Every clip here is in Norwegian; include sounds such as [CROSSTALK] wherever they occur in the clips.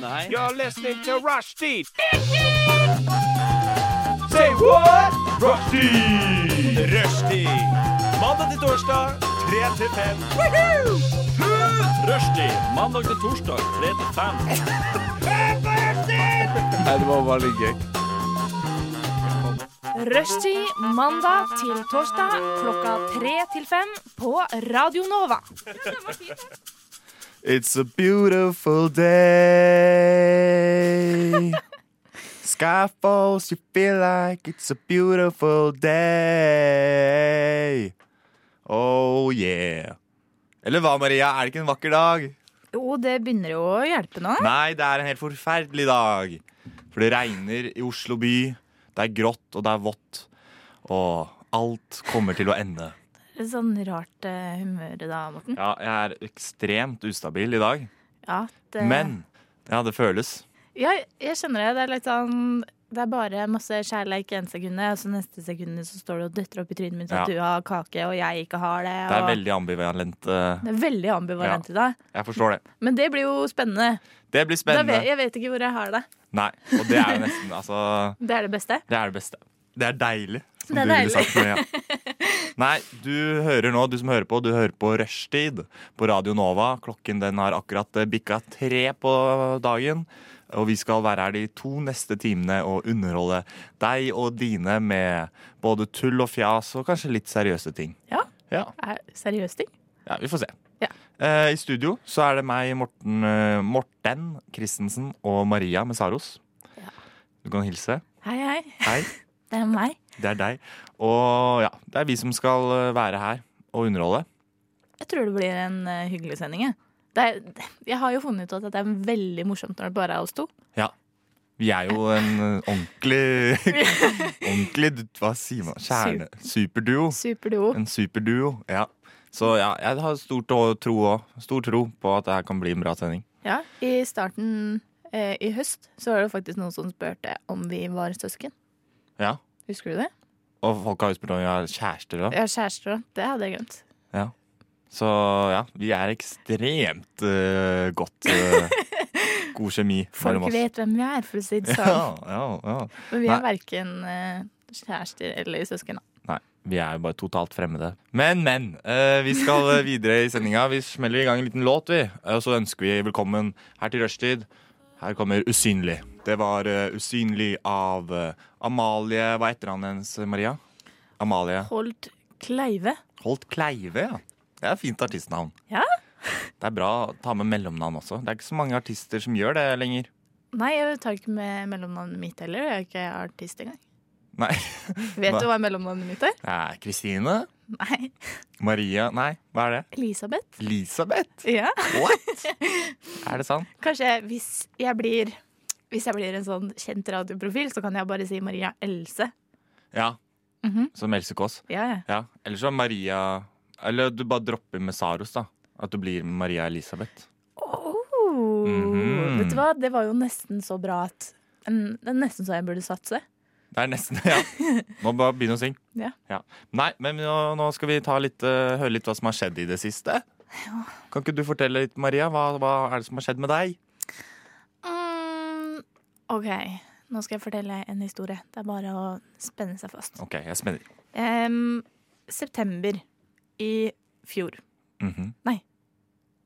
Nei. You're listening to Rushdie. Say what? Rushdie. Rushdie. Mandag til torsdag, 3 til 5. Rushdie mandag til torsdag 3 til 5. Nei, det var bare litt gøy. Rushtid mandag til torsdag klokka tre til fem på Radio Nova. It's a beautiful day. Sky falls, you feel like it's a beautiful day. Oh yeah. Eller hva, Maria? Er det ikke en vakker dag? Jo, det begynner jo å hjelpe nå. Nei, det er en helt forferdelig dag. For det regner i Oslo by. Det er grått, og det er vått. Og alt kommer til å ende. Litt sånn rart eh, humør da, Morten. Ja, jeg er ekstremt ustabil i dag. Ja, det, Men ja, det føles. Ja, jeg skjønner det. Det er litt sånn det er bare masse kjærleik en sekund, og så neste sekund så står du og døtter opp i trynet mitt Ja. at du har kake, og jeg ikke har det. Det er og- veldig ambivalent. eh, det er veldig ambivalent i dag. Jeg forstår det. Men det blir jo spennende. Det blir Da vet, spennende. jeg vet ikke hvor jeg har det. Nei, og det er jo nesten Altså, Det er det beste. det er det beste. Det er deilig. Som Det er du ville deilig. sagt, Maria. Nei, du hører nå, du som hører på, du hører på Rushtid på Radio Nova. Klokken den har akkurat eh, bikka tre på dagen. Og vi skal være her de to neste timene og underholde deg og dine med både tull og fjas og kanskje litt seriøse ting. Ja. Ja. Er- Seriøst ting. Ja, vi får se. Ja. Eh, I studio så er det meg, Morten, eh, Morten Christensen og Maria Messaros. Ja. Du kan hilse. Hei, hei. Hei, [LAUGHS] Det er meg. det er deg. Og ja, det er vi som skal eh, være her og underholde. Jeg tror det blir en eh, hyggelig sending. jeg. Det er, jeg har jo funnet ut at det er veldig morsomt når det bare er oss to. Vi er jo en eh, [LAUGHS] ordentlig Ordentlig, hva sier man? Kjerne. Superduo. Superduo. En superduo, ja. Så ja, jeg har stor tå- tro, også. stor tro på at det her kan bli en bra sending. Ja, I starten eh, i høst så var det faktisk noen som spurte om vi var søsken. Ja. Husker du det? Og folk har jo spurt om vi har kjærester. da. Ja, kjærester òg. Det hadde jeg glemt. Så ja, vi er ekstremt eh, godt eh, God kjemi Folk mellom oss. [LAUGHS] vet hvem vi er, for å si det Ja, sånn. ja, ja. Men vi er Nei. verken eh, kjærester eller søsken. da. Nei, vi er jo bare totalt fremmede. Men, men. eh, vi skal eh, videre i sendinga. Vi smeller i gang en liten låt, vi. Eh, Og så ønsker vi velkommen her til rushtid. Her kommer Usynlig. Det var eh, Usynlig av eh, Amalie Hva er etternavnet hennes, Maria? Amalie Holdt Kleive. Holt Kleive, ja. Det er et fint artistnavn. Ja. Det er bra å ta med mellomnavn også. Det er ikke så mange artister som gjør det lenger. Nei, jeg tar ikke med mellomnavnet mitt heller. Jeg er ikke artist engang. Nei. [LAUGHS] Vet Hva? du hva mellomnavnet mitt er? Nei, Kristine? Nei. Maria? Nei, hva er det? Elisabeth. Elisabeth? Ja. What? er det sant? Kanskje hvis jeg blir Hvis jeg blir en sånn kjent radioprofil, så kan jeg bare si Maria Else. Ja. Mhm. Som Else Kåss. Ja, ja. Ja. Eller så Maria Eller du bare dropper med Saros, da. At du blir Maria Elisabeth. Oh, Mhm. Vet du hva, det var jo nesten så bra at en- Det er nesten så jeg burde satse. Det er nesten Ja. [LAUGHS] Må bare begynne å synge. Ja. Nei, men nå, nå skal vi ta litt, eh, høre litt hva som har skjedd i det siste. Kan ikke du fortelle litt, Maria? Hva, hva er det som har skjedd med deg? Mm, OK, nå skal jeg fortelle en historie. Det er bare å spenne seg fast. OK, jeg spenner. Em, september i fjor. Mhm.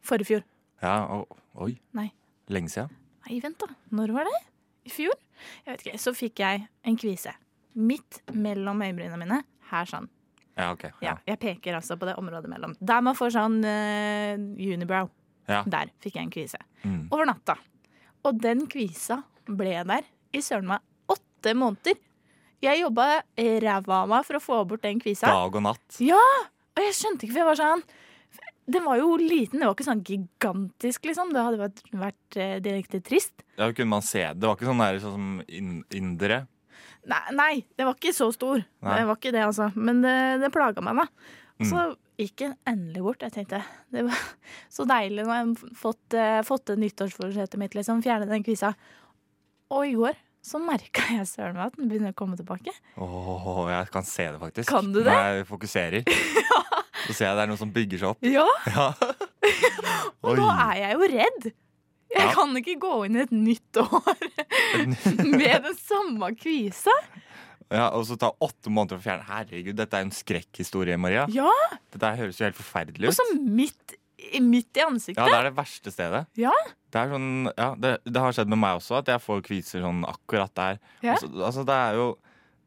Forrige fjor. Ja, og, oi. Nei. Lenge siden. Nei, vent da. Når var det? I fjor? Jeg vet ikke. Så fikk jeg en kvise. Midt mellom øyebrynene mine. Her sånn. Ja, OK. Ja, jeg peker altså på det området mellom. Der man får sånn eh, unibrow. Ja. Der fikk jeg en kvise. Mm. Over natta. Og den kvisa ble der i søren meg åtte måneder. Jeg jobba ræva av meg for å få bort den kvisa. Dag og natt. Og jeg skjønte ikke, for jeg var sånn Den var jo liten, det var ikke sånn gigantisk, liksom. Det hadde vært, vært eh, direkte trist. Ja, kunne man se det. Det var ikke sånn, der, sånn som in indere. Nei, nei, den var ikke så stor. Nei. Det var ikke det, altså. Men det, det plaga meg, da. Og Så Mm. gikk den endelig bort. Jeg tenkte det var [LAUGHS] så deilig når jeg har fått, eh, fått det nyttårsforsettet mitt, liksom. Fjerne den kvisa. Og i går så merka jeg søren meg at den begynner å komme tilbake. Åh, jeg kan se det faktisk. Kan du det? Når jeg fokuserer. [LAUGHS] Så ser jeg det er noe som bygger seg opp. Ja, Ja. og nå er jeg jo redd. Jeg Ja. kan ikke gå inn i et nytt år [LAUGHS] med den samme kvisa. Ja, og så ta åtte måneder for å fjerne. Herregud, dette er jo en skrekkhistorie, Maria. Ja, Dette her høres jo helt forferdelig og ut. så midt, i- midt i Ja, ansiktet. det er det verste stedet. Ja. Det, er sånn, ja, det, det har skjedd med meg også, at jeg får kviser sånn akkurat der. Ja. Altså, altså, det er jo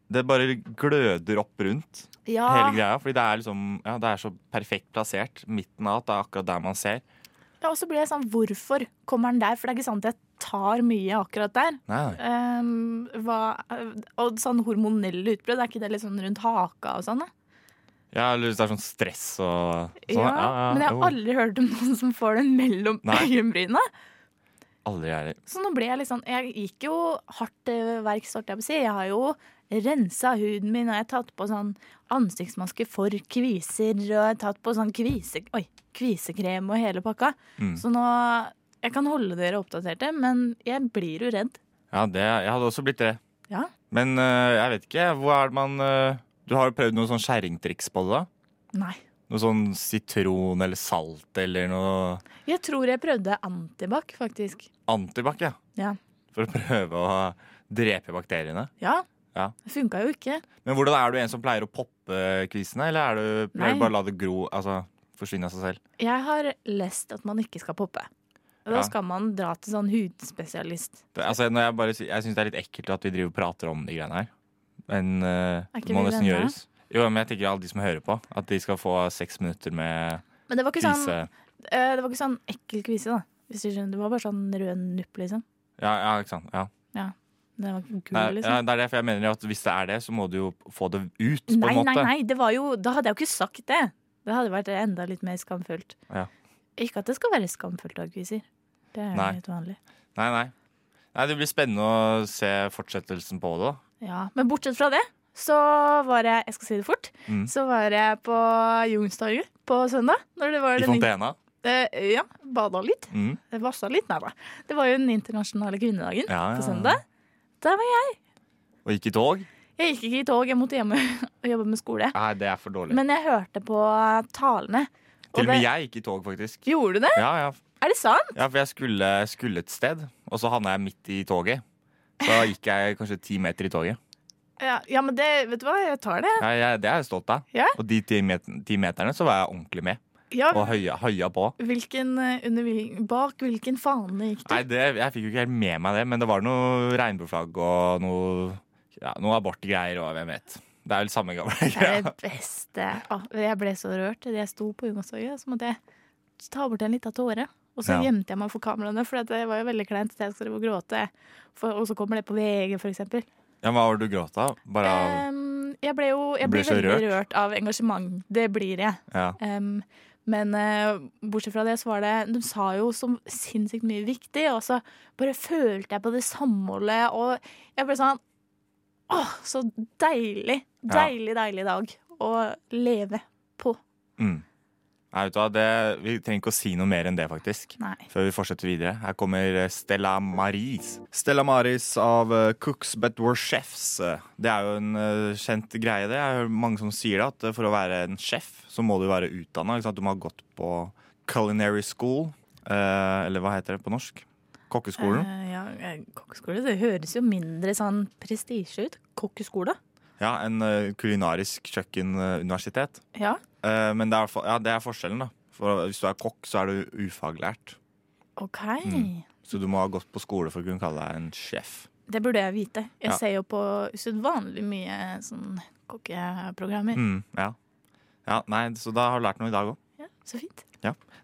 Det bare gløder opp rundt hele Ja, greia. Fordi det er liksom Ja, det er så perfekt plassert. Midten av at det er akkurat der man ser. ja og så blir jeg sånn, hvorfor kommer den der? For det er ikke sant, jeg tar mye akkurat der. Nei, nei. Ehm, hva, og sånn hormonelle utbrudd, er ikke det litt sånn rundt haka og sånn? da? Ja, eller hvis det er sånn stress og sånn. Ja, men jeg jo. har aldri hørt om [LAUGHS] noen som får den mellom Nei. øyenbrynene. Aldri er det. Så nå ble jeg litt sånn Jeg gikk jo hardt til verks, holdt jeg på å si. Jeg har jo rensa huden min, og jeg har tatt på sånn ansiktsmaske for kviser, og jeg har tatt på sånn kvise, oi, kvisekrem og hele pakka. Mm. Så nå Jeg kan holde dere oppdaterte, men jeg blir jo redd. Ja, det, jeg hadde også blitt det. Ja. Men øh, jeg vet ikke, hvor er det man øh, Du har jo prøvd noen sånn skjæringtriks på det? da? Nei. Noe sånn sitron eller salt eller noe Jeg tror jeg prøvde antibac, faktisk. antibac, ja. Ja. For å prøve å drepe bakteriene. Ja. Ja. Det funka jo ikke. Men hvordan er du en som pleier å poppe kvisene, eller er du pleier Nei. du bare å la det gro, altså forsvinne av seg selv? Jeg har lest at man ikke skal poppe. Og Da Ja. skal man dra til sånn hudspesialist. Det, altså, når jeg bare, sy- jeg syns det er litt ekkelt at vi driver og prater om de greiene her. Men øh, Er ikke det må vi nesten venner? gjøres. Jo, men jeg tenker alle de som hører på, at de skal få seks minutter med Men det var ikke sånn kvise. Eh, Det var ikke sånn ekkel kvise, da. Hvis du skjønner. Det var bare sånn rød nupp, liksom. Ja, ja, ikke sant. Ja. Den var ikke Nei, gul, ja, liksom. det er det, for jeg mener jo at hvis det er det, så må du jo få det ut, på Nei, en måte. nei, nei. Det var jo, da hadde jeg jo ikke sagt det. Det hadde vært enda litt mer skamfullt. Ja. Ikke at det skal være skamfullt å ha kviser. Det er jo Nei. helt vanlig. Nei, nei. Nei, Det blir spennende å se fortsettelsen på det. da. Ja, Men bortsett fra det, så var jeg Jeg skal si det fort. Mm. Så var jeg på Youngstorget på søndag. Når det var I den, Fontena. eh, ja, bada litt. Mm. Vasla litt. Nei da. Det var jo den internasjonale kvinnedagen Ja, ja, på ja. søndag. Der var jeg. Og gikk i tog? Jeg gikk ikke i tog, jeg måtte hjemme [LAUGHS] og jobbe med skole. Nei, det er for dårlig. Men jeg hørte på talene. og Til og med det- jeg gikk i tog, faktisk. Gjorde du det? Ja, ja. Er det sant? ja For jeg skulle, skulle et sted, og så havna jeg midt i toget. Så da gikk jeg kanskje ti meter i toget. Ja, ja, men det, vet du hva, jeg tar det. Ja, jeg, det er jeg stolt av. Ja. Og de ti, met ti meterne så var jeg ordentlig med. Ja, Og høya, høya på. hvilken, eh, under, hvil- bak hvilken fane gikk Nei, du? det, Jeg fikk jo ikke helt med meg det, men det var noe regnbueflagg og noe, ja, noe abortgreier og hvem vet. Det er vel samme gamle [LAUGHS] Det er greia. det beste. Å, Jeg ble så rørt. Da jeg sto på Youngstorget, så måtte jeg ta bort en liten tåre. Og så Ja. gjemte jeg meg for kameraene, for at det var jo veldig kleint. at Jeg skulle drive og gråte. For, og så kommer det på VG, for eksempel. Ja, men Hva var det du gråt av? Bare av Em, jeg ble jo jeg Du ble ble så veldig rørt av engasjement. Det blir jeg. ja. Um, men eh, bortsett fra det, så var det De sa jo så sinnssykt mye viktig, og så bare følte jeg på det samholdet, og jeg ble sånn Åh, så deilig! Ja. Deilig, deilig dag å leve på. Mm. Nei, vet du hva, det, vi trenger ikke å si noe mer enn det, faktisk. Nei. Før vi fortsetter videre. Her kommer eh, Stella Maris. Stella Maris av eh, Cooks But Were Chefs. Eh, Det er jo en eh, kjent greie, det. Jeg hører mange som sier det, at eh, for å være en sjef, så må du være utdanna. Du må ha gått på culinary school, eh, eller hva heter det på norsk? Kokkeskolen. Eh, ja, eh, kokkeskole. Det høres jo mindre sånn prestisje ut. Kokkeskole. Ja, en eh, kulinarisk kjøkkenuniversitet. Ja. Eh, Men det er, i hvert fall- ja, det er forskjellen, da. For hvis du er kokk, så er du ufaglært. OK. Mm. Så du må ha gått på skole for å kunne kalle deg en sjef. Det burde jeg vite. Jeg Ja. ser jo på usedvanlig mye sånn kokkeprogrammer. Mm, ja. ja. Nei, så da har du lært noe i dag òg. Ja, så fint.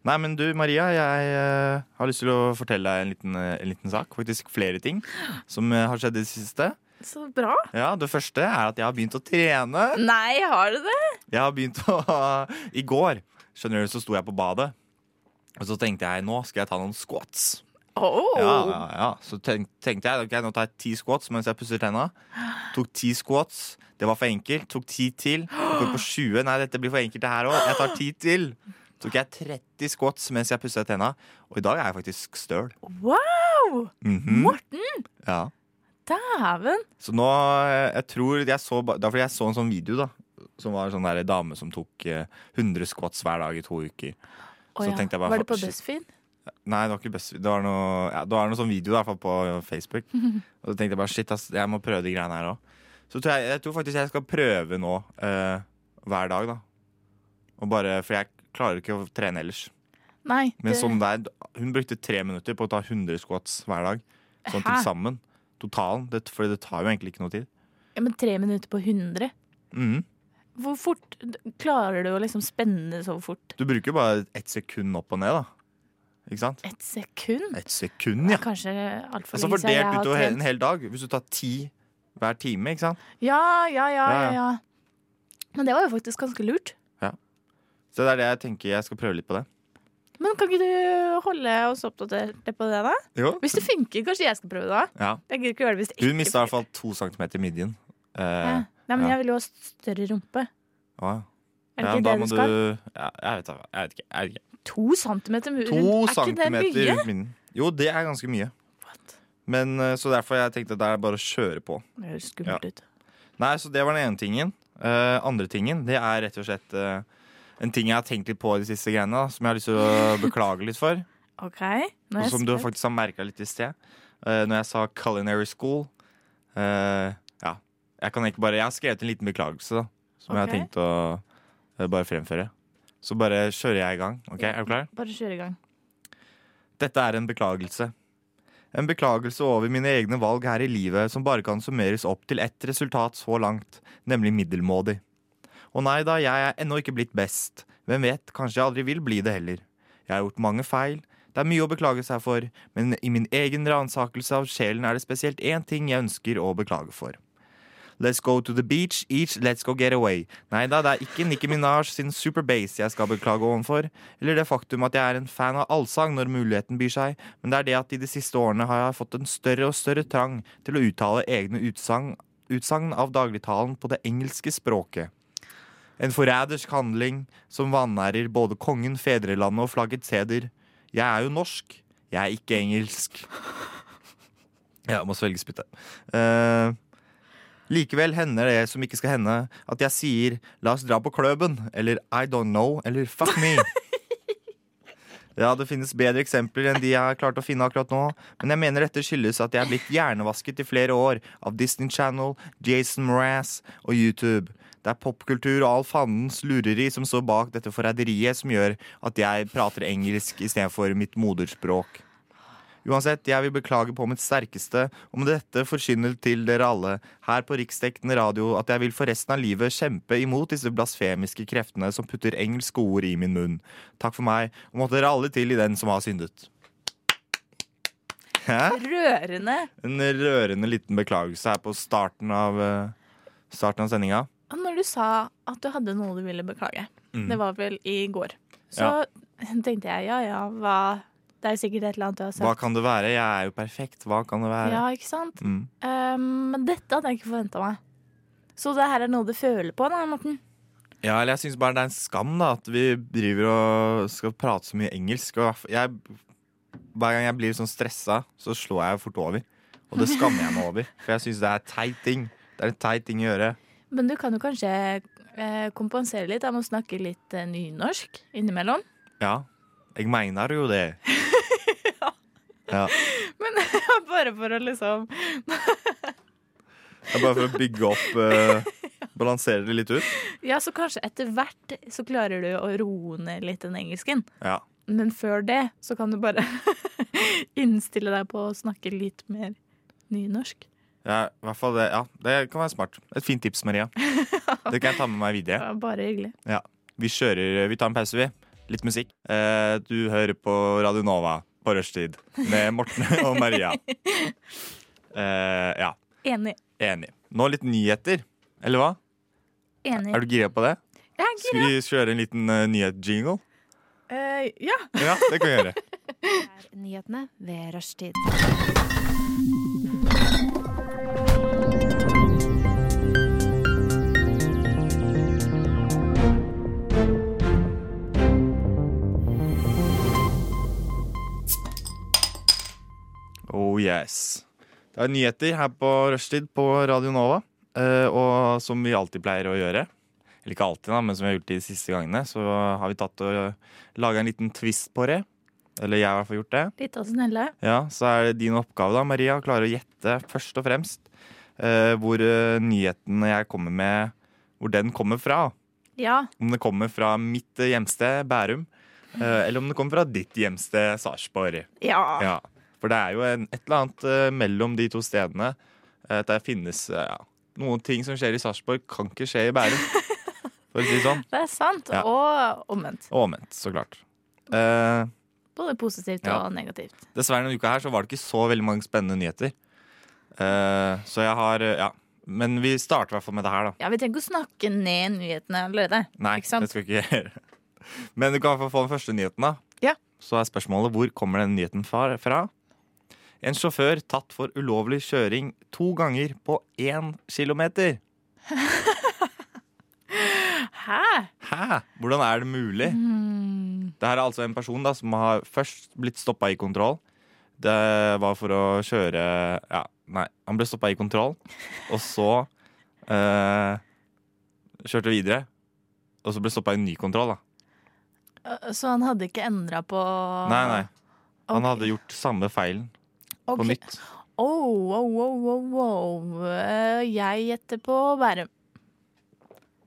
Nei, men du Maria, jeg eh, har lyst til å fortelle deg en liten, eh, en liten sak. Faktisk flere ting som eh, har skjedd i det siste. Så bra. Ja, Det første er at jeg har begynt å trene. Nei, har du det? Jeg har begynt å [LAUGHS] I går skjønner du, så sto jeg på badet, og så tenkte jeg nå skal jeg ta noen squats. Oh. Ja, ja, ja. Så tenk, tenkte jeg ok, nå tar jeg ti squats mens jeg pusser tenna. Tok ti squats. Det var for enkelt. Tok ti til. Går på 20. Nei, dette blir for enkelt, det her òg. Jeg tar ti til. Tok jeg 30 squats mens jeg pussa tenna. Og i dag er jeg faktisk støl. Wow! Mhm. Morten! Ja. Dæven! Så nå eh, Jeg tror jeg så ba- Det er fordi jeg så en sånn video, da. Som var en sånn der dame som tok eh, 100 squats hver dag i to uker. Å Så ja. tenkte jeg bare Var det på shit. BuzzFeed? Nei, det var ikke best, det var noe, ja, det var noe sånn video i hvert fall på [LAUGHS] Facebook. Og så tenkte jeg bare shit, ass, jeg må prøve de greiene her òg. Så tror jeg, jeg tror faktisk jeg skal prøve nå eh, hver dag, da. Og bare, For jeg klarer ikke å trene ellers. Nei. Men det- sånn der, hun brukte tre minutter på å ta 100 squats hver dag. Sånn til Hæ? sammen. Totalen. Det, for det tar jo egentlig ikke noe tid. Ja, men tre minutter på 100? Mhm. Hvor fort d- klarer du å liksom spenne så fort? Du bruker jo bare ett sekund opp og ned, da. Ikke sant? Et sekund? Ett sekund, ja. Kanskje altfor Altså lenge siden jeg fordelt har utover he- en trent. hel dag. Hvis du tar ti hver time, ikke sant. Ja, ja, ja, Ja, ja. ja, ja. Men det var jo faktisk ganske lurt. Så det er det jeg tenker jeg skal prøve litt på det. Men kan ikke du holde oss oppdaterte på det, da? Jo. Hvis det funker, kanskje jeg skal prøve det. da Ja. Jeg gidder ikke gjøre det hvis det Hun ikke mista i hvert fall to centimeter i midjen. Ja. Eh, Nei, men ja. jeg vil jo ha større rumpe. ja. Er det Ja, ikke da det må du skal? ja, jeg, vet, da- jeg vet ikke. Jeg vet ikke. To centimeter mu- To rundt. Er ikke det centimeter mye? rundt midjen. Jo, det er ganske mye. Men, eh, så derfor jeg tenkte det er bare å kjøre på. Det høres skummelt ut. Nei, så det var den ene tingen. Eh, andre tingen, det er rett og slett eh, en ting jeg har tenkt litt på i de siste greiene, da, som jeg har lyst til å beklage litt for. OK. nå er Og jeg som du spent. faktisk har merka litt i sted. eh, når jeg sa culinary school. eh, ja. Jeg kan egentlig bare Jeg har skrevet en liten beklagelse, da. Som jeg har Ok. tenkt å eh, bare fremføre. Så bare kjører jeg i gang. Ok, Er du klar? Bare kjør i gang. Dette er en beklagelse. En beklagelse over mine egne valg her i livet som bare kan summeres opp til ett resultat så langt, nemlig middelmådig. Og nei da, jeg er ennå ikke blitt best. Hvem vet, kanskje jeg aldri vil bli det heller. Jeg har gjort mange feil, det er mye å beklage seg for, men i min egen ransakelse av sjelen er det spesielt én ting jeg ønsker å beklage for. Let's go to the beach, each let's go get away. Nei da, det er ikke Nicki Minaj sin Superbase jeg skal beklage overfor, eller det faktum at jeg er en fan av allsang når muligheten byr seg, men det er det at i de siste årene har jeg fått en større og større trang til å uttale egne utsagn utsagn av dagligtalen på det engelske språket. En forrædersk handling som vanærer både kongen, fedrelandet og flaggets heder. Jeg er jo norsk, jeg er ikke engelsk. [LAUGHS] Jeg må svelge spyttet. Eh, Likevel hender det som ikke skal hende, at jeg sier 'la oss dra på kløben', eller 'I don't know', eller 'fuck me'. Ja, det finnes bedre eksempler enn de jeg har klart å finne akkurat nå, men jeg mener dette skyldes at jeg er blitt hjernevasket i flere år av Disney Channel, Jason Mraz og YouTube. Det er popkultur og all fandens lureri som står bak dette forræderiet som gjør at jeg prater engelsk istedenfor mitt moderspråk. Uansett, jeg vil beklage på mitt sterkeste og med dette forkynne til dere alle her på riksdekkende radio at jeg vil for resten av livet kjempe imot disse blasfemiske kreftene som putter engelske ord i min munn. Takk for meg, og måtte dere alle til i den som har syndet. Hæ? Rørende. En rørende liten beklagelse her på starten av, eh, starten av sendinga. Og Når du sa at du hadde noe du ville beklage, det var vel i går, Mm. så Ja. tenkte jeg ja ja, hva Det er sikkert et eller annet du har Hva sagt. kan det være? Jeg er jo perfekt. Hva kan det være? Ja, ikke sant? Mm. Um, men dette hadde jeg ikke forventa meg. Så det her er noe du føler på, da, Morten? Ja, eller jeg syns bare det er en skam da at vi driver og skal prate så mye engelsk. Og jeg- jeg, hver gang jeg blir sånn stressa, så slår jeg fort over. Og det skammer jeg meg over, for jeg syns det er teit ting. Det er en teit ting å gjøre. Men du kan jo kanskje eh, kompensere litt. Jeg må snakke litt eh, nynorsk [LAUGHS] innimellom. Ja, jeg mener jo det. Ja. Bare for å liksom Det er bare for å bygge opp eh, Balansere det litt ut. Ja, så kanskje etter hvert så klarer du å roe ned litt den engelsken. Ja. Men før det så kan du bare [LAUGHS] innstille deg på å snakke litt mer nynorsk. Ja, i hvert fall det, ja, det kan være smart. Et fint tips, Maria. Det kan jeg ta med meg videre. Det var bare hyggelig. Vi kjører, eh, vi tar en pause, vi. Litt musikk. Eh, du hører på Radio Nova på rushtid med Morten og [LAUGHS] Maria. Eh, ja, Enig. enig. Nå litt nyheter, eller hva? Enig. Er du gira på det? Jeg er Skal vi kjøre en liten uh, nyhetsjingle? Eh, ja. Ja, det kan vi gjøre. Nyhetene ved rushtid. Oh yes. Det er nyheter her på rushtid på Radio Nova. eh, og som vi alltid pleier å gjøre, eller ikke alltid, da, men som vi har gjort de siste gangene, så har vi tatt og laga en liten twist på det. Eller jeg har i hvert fall gjort det. Litt av snelle. Ja, så er det din oppgave da, Maria, å klare å gjette først og fremst eh, hvor eh, nyheten jeg kommer med, hvor den kommer fra. Ja. Om det kommer fra mitt eh, hjemsted, Bærum, eh, eller om det kommer fra ditt hjemsted, Sarpsborg. Ja. Ja, for det er jo en, et eller annet eh, mellom de to stedene. eh, At det finnes eh, ja, noen ting som skjer i Sarpsborg, kan ikke skje i Bærum. For å si det sånn. Det er sant. Ja. Og omvendt. Og omvendt, så klart. Eh, Både positivt Ja. og negativt. Dessverre denne uka her så var det ikke så veldig mange spennende nyheter. Eh, så jeg har eh, Ja. Men vi starter i hvert fall med det her, da. Ja, Vi trenger ikke å snakke ned nyhetene allerede. Nei, Ikke sant? det skal vi ikke gjøre. [LAUGHS] Men du kan i hvert fall få den første nyheten, da. Ja. Så er spørsmålet hvor kommer den nyheten fa- fra? En sjåfør tatt for ulovlig kjøring to ganger på én kilometer. Hæ? Hæ? Hvordan er det mulig? Mm. Det her er altså en person da, som har først blitt stoppa i kontroll. Det var for å kjøre Ja, nei, han ble stoppa i kontroll. Og så eh, kjørte videre. Og så ble stoppa i en ny kontroll, da. Så han hadde ikke endra på Nei, nei. Han Ok. hadde gjort samme feilen på Ok. nytt. Oh, wow, wow, wow, wow. Eh, Jeg gjetter på Bærum.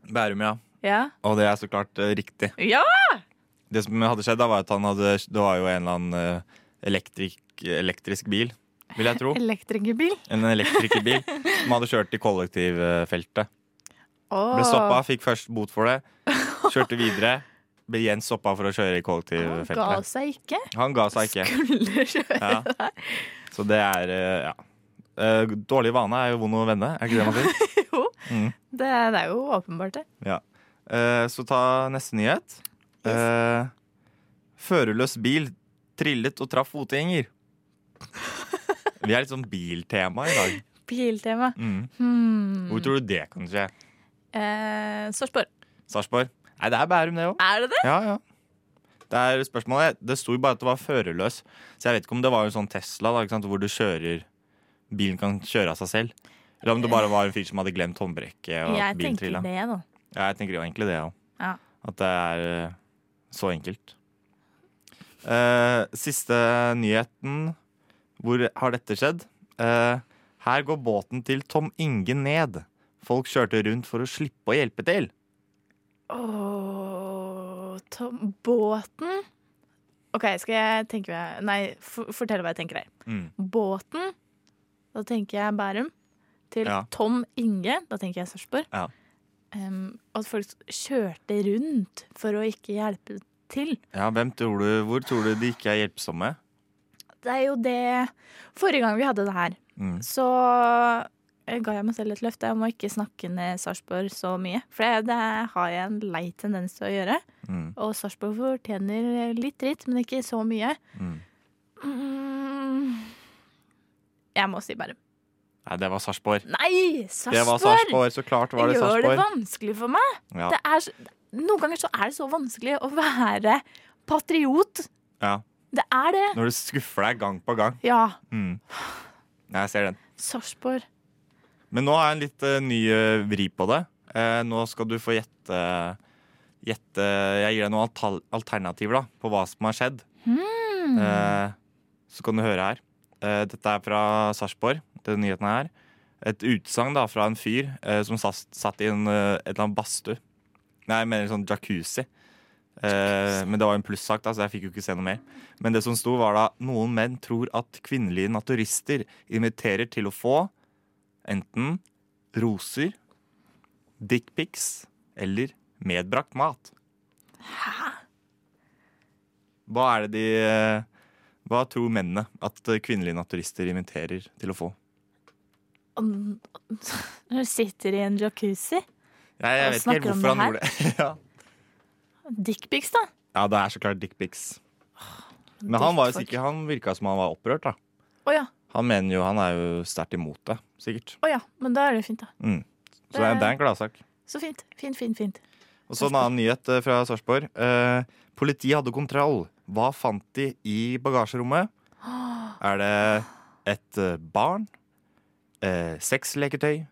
Bærum, ja. Ja. Og det er så klart eh, riktig. Ja! Det som hadde skjedd, da var at han hadde Det var jo en eller annen eh, elektrik, elektrisk bil, vil jeg [LAUGHS] tro. Elektrikerbil. En elektrikerbil som hadde kjørt i kollektivfeltet. Oh. Ble stoppa, fikk først bot for det. Kjørte videre. Ble igjen stoppa for å kjøre i Han ga kollektivfeltet. seg ikke. Han ga seg ikke. Skulle [LAUGHS] kjøre. Ja. Så det er eh, ja. Eh, Dårlig vane er jo vond å vende, er ikke det man [LAUGHS] sier? Jo. Mm. Det, det er jo åpenbart, det. Ja. Eh, Så ta neste nyhet. Eh, Førerløs bil trillet og traff [LAUGHS] fotgjenger. Vi er litt sånn biltema i dag. Biltema. Mm. Hmm. Hvor tror du det kan skje? Eh, Sarpsborg. Sarpsborg? Nei, det er Bærum, det òg. Er det det? Ja, ja. Det er spørsmålet. Det sto jo bare at det var førerløs. Så jeg vet ikke om det var en sånn Tesla da, ikke sant? hvor du kjører Bilen kan kjøre av seg selv. Eller om det bare var en fyr som hadde glemt håndbrekket. Og at Jeg bilen tenker trilla. det, da. Ja, jeg tenker jo egentlig det, ja. Ja. At det er eh, så enkelt. Eh, siste nyheten. Hvor har dette skjedd? Eh, her går båten til Tom Inge ned. Folk kjørte rundt for å slippe å hjelpe til. Åh, Tom, båten OK, skal jeg tenke meg Nei, for, fortell hva jeg tenker her. Mm. Båten, da tenker jeg Bærum. Til Ja. Tom Inge, da tenker jeg Sarpsborg. Ja. Em, at folk kjørte rundt for å ikke hjelpe til. Ja, hvem tror du, Hvor tror du de ikke er hjelpsomme? Det er jo det Forrige gang vi hadde det her, Mm. så eh, ga jeg meg selv et løfte om å ikke snakke ned Sarpsborg så mye. For det- det har jeg en lei tendens til å gjøre. Mm. Og Sarpsborg fortjener litt dritt, men ikke så mye. Mm. Mm. Jeg må si Bærum. Nei, det var Sarpsborg. Nei! Det var Sarpsborg! Sarpsg, så klart var det Det gjør det Sarpsborg. vanskelig for meg. Ja. Det er så, noen ganger så er det så vanskelig å være patriot. Ja. Det er det. Når du skuffer deg gang på gang. Ja. Mm. Ja, Jeg ser den. Sarpsborg. Men nå har jeg en litt eh, ny eh, vri på det. Eh, nå skal du få gjette, gjette Jeg gir deg noen altal- alternativer da, på hva som har skjedd. Eh, så kan du høre her. Eh, dette er fra Sarpsborg, denne nyheten her. Et utsagn da, fra en fyr eh, som satt, satt i en, eh, et eller annet badstue. Nei, jeg mener en sånn jacuzzi. Eh, men det var en plussak, da, så jeg fikk jo ikke se noe mer. Men det som sto, var da noen menn tror at kvinnelige naturister inviterer til å få enten roser, dickpics eller medbrakt mat. Hva er det de eh, Hva tror mennene at eh, kvinnelige naturister inviterer til å få? Om- Når du sitter i en jacuzzi. Jeg, jeg Hva vet ikke helt snakker hvorfor om han gjorde det. [LAUGHS] ja. Dickpics, da. ja, det er så klart dickpics. Men han var jo Dickfolk. sikker, han virka som han var opprørt. da Å ja. Han mener jo, han er jo sterkt imot det, sikkert. Å ja. Men da er det fint, da. Mm. Så det er, det er en gladsak. Så fint. Fint, fint, fint. Og så en annen nyhet eh, fra Sarpsborg. Eh, politiet hadde kontroll. Hva fant de i bagasjerommet? Er det et eh, barn, eh, seks leketøy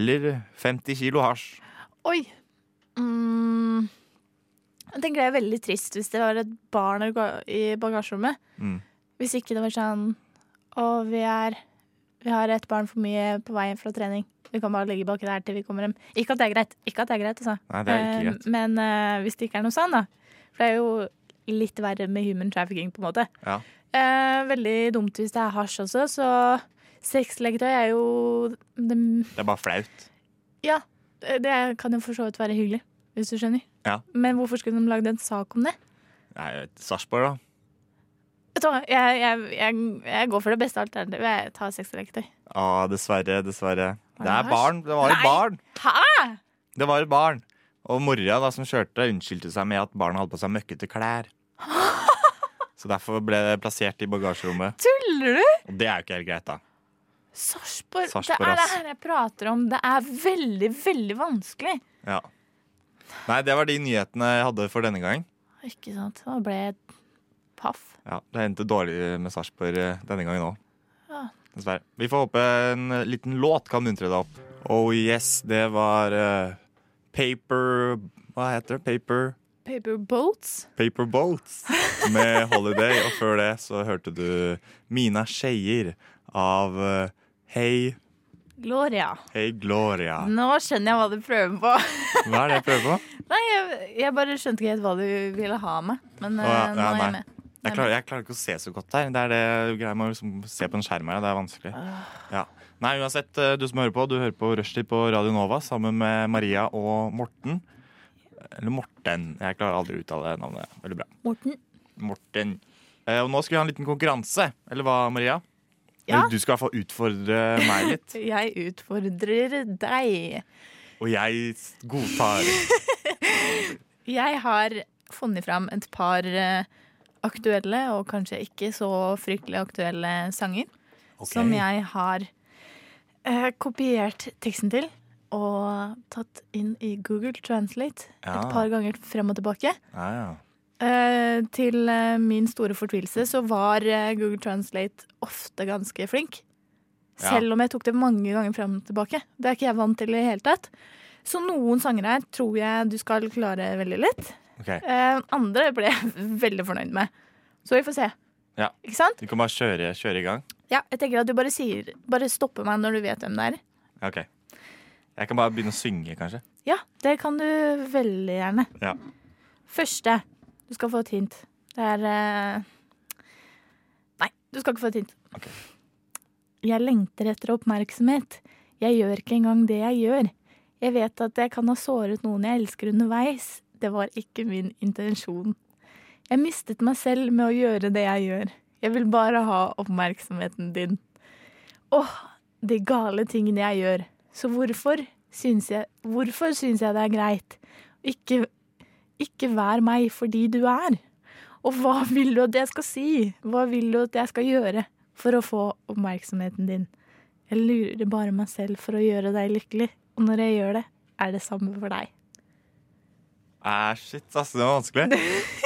eller 50 kilo hasj? Oi. Mm. Jeg tenker det er veldig trist hvis det var et barn i ga- i bagasjerommet. Mm. Hvis ikke det var sånn Å, vi er Vi har et barn for mye på vei fra trening. Vi kan bare ligge baki der til vi kommer hjem. Ikke at det er greit. Ikke at det er greit, altså. Nei, det er ikke Eh, greit. Men eh, hvis det ikke er noe sånn, da. For det er jo litt verre med human trafficking, på en måte. Ja. Eh, veldig dumt hvis det er hasj også, så sexleketøy er jo det Det er bare flaut. ja, det kan jo for så vidt være hyggelig, hvis du skjønner. Ja. Men hvorfor skulle de lagd en sak om det? Nei, jeg vet, Sarpsborg, da. Vet du hva, jeg, jeg, jeg, jeg går for det beste alternativet. Jeg tar sexleketøy. Ah, dessverre, dessverre. Var Det det er hasj? barn. Det var et Nei. barn. Hæ?! Det var et barn. Og mora da, som kjørte, unnskyldte seg med at barna hadde på seg møkkete [LAUGHS] klær. Så derfor ble det plassert i bagasjerommet. Tuller du?! Og det er jo ikke helt greit, da. Sarpsborg. Det Sarpsborg, er det ass. her jeg prater om. Det er veldig, veldig vanskelig. Ja. Nei, det var de nyhetene jeg hadde for denne gang. Ikke sant. Da ble jeg paff. Ja, Det endte dårlig med Sarpsborg eh, denne gangen òg. Ja. Dessverre. Vi får håpe en eh, liten låt kan muntre deg opp. Oh yes, det var eh, Paper Hva heter det? Paper Paper boats. Paper Boats med Holiday. Og før det så hørte du Mina Skeier av eh, Hey, Gloria. Hey Gloria. Nå skjønner jeg hva du prøver på. Hva er det jeg prøver på? [LAUGHS] Nei, jeg, jeg bare skjønte ikke helt hva du ville ha med. Men Å, eh, ja, nå ja, er jeg nei. med. Jeg klarer, jeg klarer ikke å se så godt her. Det er det greia med å liksom se på en skjerm her. Det er vanskelig. Ja. Nei, uansett, eh, du som hører på, du hører på Rushtid på Radio Nova sammen med Maria og Morten. Eller Morten. Jeg klarer aldri å uttale navnet. Veldig bra. Morten. Morten. Eh, og nå skal vi ha en liten konkurranse. Eller hva, Maria? Ja. Eller Du skal i hvert fall utfordre [LAUGHS] meg litt. Jeg utfordrer deg. Og jeg s- godtar. Jeg har funnet fram et par eh, aktuelle, og kanskje ikke så fryktelig aktuelle sanger, som jeg har eh, kopiert teksten til og tatt inn i Google Translate Ja. et par ganger frem og tilbake. Ja, ja. Eh, til eh, min store fortvilelse så var eh, Google Translate ofte ganske flink. Ja. Selv om jeg tok det mange ganger frem og tilbake. Det er ikke jeg vant til i det hele tatt. Så noen sanger her tror jeg du skal klare veldig lett. Ok, Eh, andre ble jeg [LAUGHS] veldig fornøyd med. Så vi får se. Ja. Ikke sant? Du kan bare kjøre, kjøre i gang. Ja, jeg tenker at du bare sier Bare stopper meg når du vet hvem det er. Ok. Jeg kan bare begynne å synge, kanskje. Ja, det kan du veldig gjerne. Ja. Første. Du skal få et hint. Det er eh, Nei, du skal ikke få et hint. Ok. Jeg lengter etter oppmerksomhet. Jeg gjør ikke engang det jeg gjør. Jeg vet at jeg kan ha såret noen jeg elsker underveis. Det var ikke min intensjon. Jeg mistet meg selv med å gjøre det jeg gjør. Jeg vil bare ha oppmerksomheten din. Åh, de gale tingene jeg gjør. Så hvorfor syns jeg, hvorfor syns jeg det er greit? Ikke, ikke vær meg fordi du er. Og hva [LAUGHS] vil du at jeg skal si? Hva vil du at jeg skal gjøre for å få oppmerksomheten din? Jeg lurer bare meg selv for å gjøre deg lykkelig, og når jeg gjør det, er det samme for deg. Æ, shit, ass, det var vanskelig.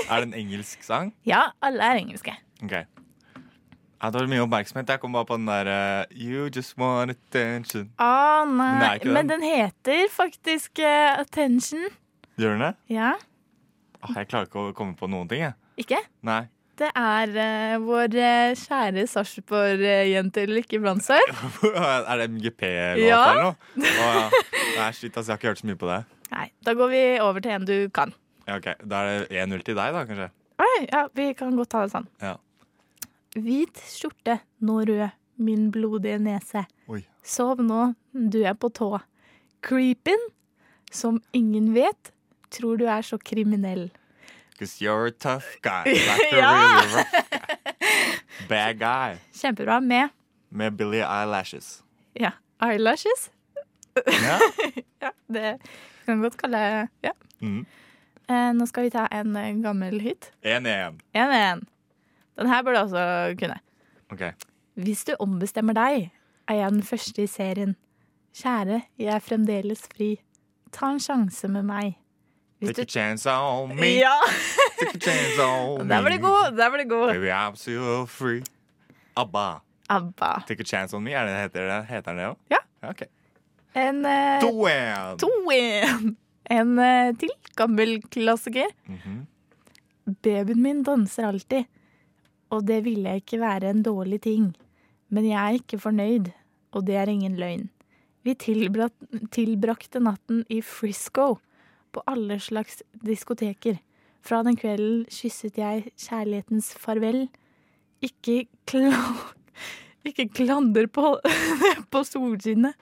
Er det en engelsk sang? Ja, alle er engelske. Ok. Ja, det var mye oppmerksomhet. Jeg kom bare på den der eh, You just want attention. Å Ah, nei, Men det er ikke men den heter faktisk eh, Attention. Gjør den det? Ja, Åh, jeg klarer ikke å komme på noen ting, jeg. ikke? Nei. [LAUGHS] Det er eh, vår eh, kjære Sarpsborg-jente Lykke Brandsøy. er det MGP-låt Ja. eller noe? Å, ja. Nei, shit, ass, jeg har ikke hørt så mye på det. Nei, da går vi over til en du kan. Ja, ok. Da er det 1-0 til deg, da, kanskje? Oi, ja, vi kan godt ta det sånn. Ja. Hvit skjorte, nå rød, min blodige nese. Oi. Sov nå, du er på tå. Creepin, som ingen vet, tror du er så kriminell. Cause you're a tough guy. [LAUGHS] Like a Ja! really rough guy. Bad guy. Kjempebra med Med Billie Eyelashes. ja, eyelashes. Ja. [LAUGHS] Ja, det vi kan godt kalle ja. Mhm. Eh, nå skal vi ta en eh, gammel hit. 1-1. En, en. Den her burde du også kunne. Ok. Hvis du ombestemmer deg, er jeg den første i serien. Kjære, jeg er fremdeles fri. Ta en sjanse med meg. Hvis Take a du chance on me. Ja! Take a chance on me. Der var det god! Der var det god. Baby, I'm so free. ABBA. ABBA. Take a chance on me. Eh, Er det, heter, det, heter den det òg? Ja. Ok. En eh, To-en. to-in. En eh, til gammel klassiker. Babyen min danser alltid, og det ville jeg ikke være en dårlig ting. Men jeg er ikke fornøyd, og det er ingen løgn. Vi tilbrat- tilbrakte natten i Frisco, på alle slags diskoteker. Fra den kvelden kysset jeg kjærlighetens farvel. Ikke kla... [LAUGHS] Ikke klander på, [LAUGHS] på solskinnet.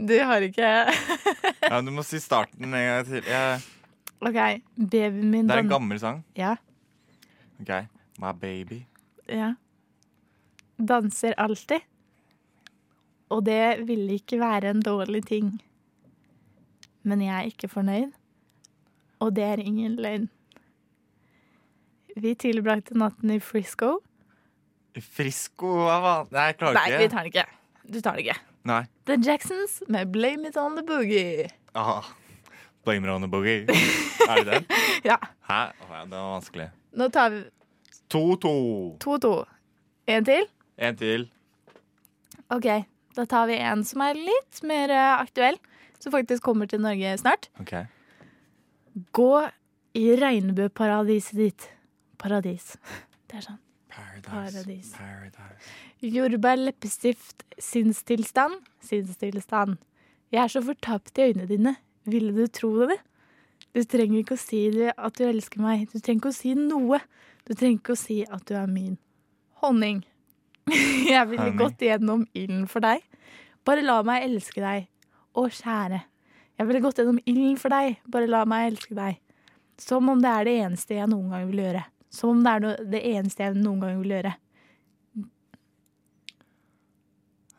Det har ikke jeg. Ja, du må si starten en gang til. Jeg, OK, babyen min det er en dan- gammel sang. Ja, Ok, My baby. ja. Danser alltid. Og det ville ikke være en dårlig ting. Men jeg er ikke fornøyd, og det er ingen løgn. Vi tilbrakte natten i Frisco. Frisco, hva faen? Nei, jeg klarer Nei, vi ikke. tar den ikke. Du tar den ikke. Nei. The Jacksons med 'Blame It On The Boogie'. Ah. Blame it on the [LAUGHS] boogie. er det den? Ja, Hæ? Å ja, det var vanskelig. nå tar vi 2-2. 2-2. En til. En til. Ok, da tar vi en som er litt mer eh, aktuell, som faktisk kommer til Norge snart. Ok. Gå i regnbueparadiset ditt. Paradis. [LAUGHS] Det er sånn. Paradis. Paradise. Jordbær, leppestift, sinnstilstand. Sinnstilstand. Jeg er så fortapt i øynene dine. Ville du tro det? Du trenger ikke å si det at du elsker meg. Du trenger ikke å si noe. Du trenger ikke å si at du er min. Honning. [LAUGHS] Jeg ville Honning. gått gjennom ilden for deg. Bare la meg elske deg. Å, kjære. Jeg ville gått gjennom ilden for deg. Bare la meg elske deg. Som om det er det eneste jeg noen gang vil gjøre. Som om det er no det eneste jeg noen gang vil gjøre.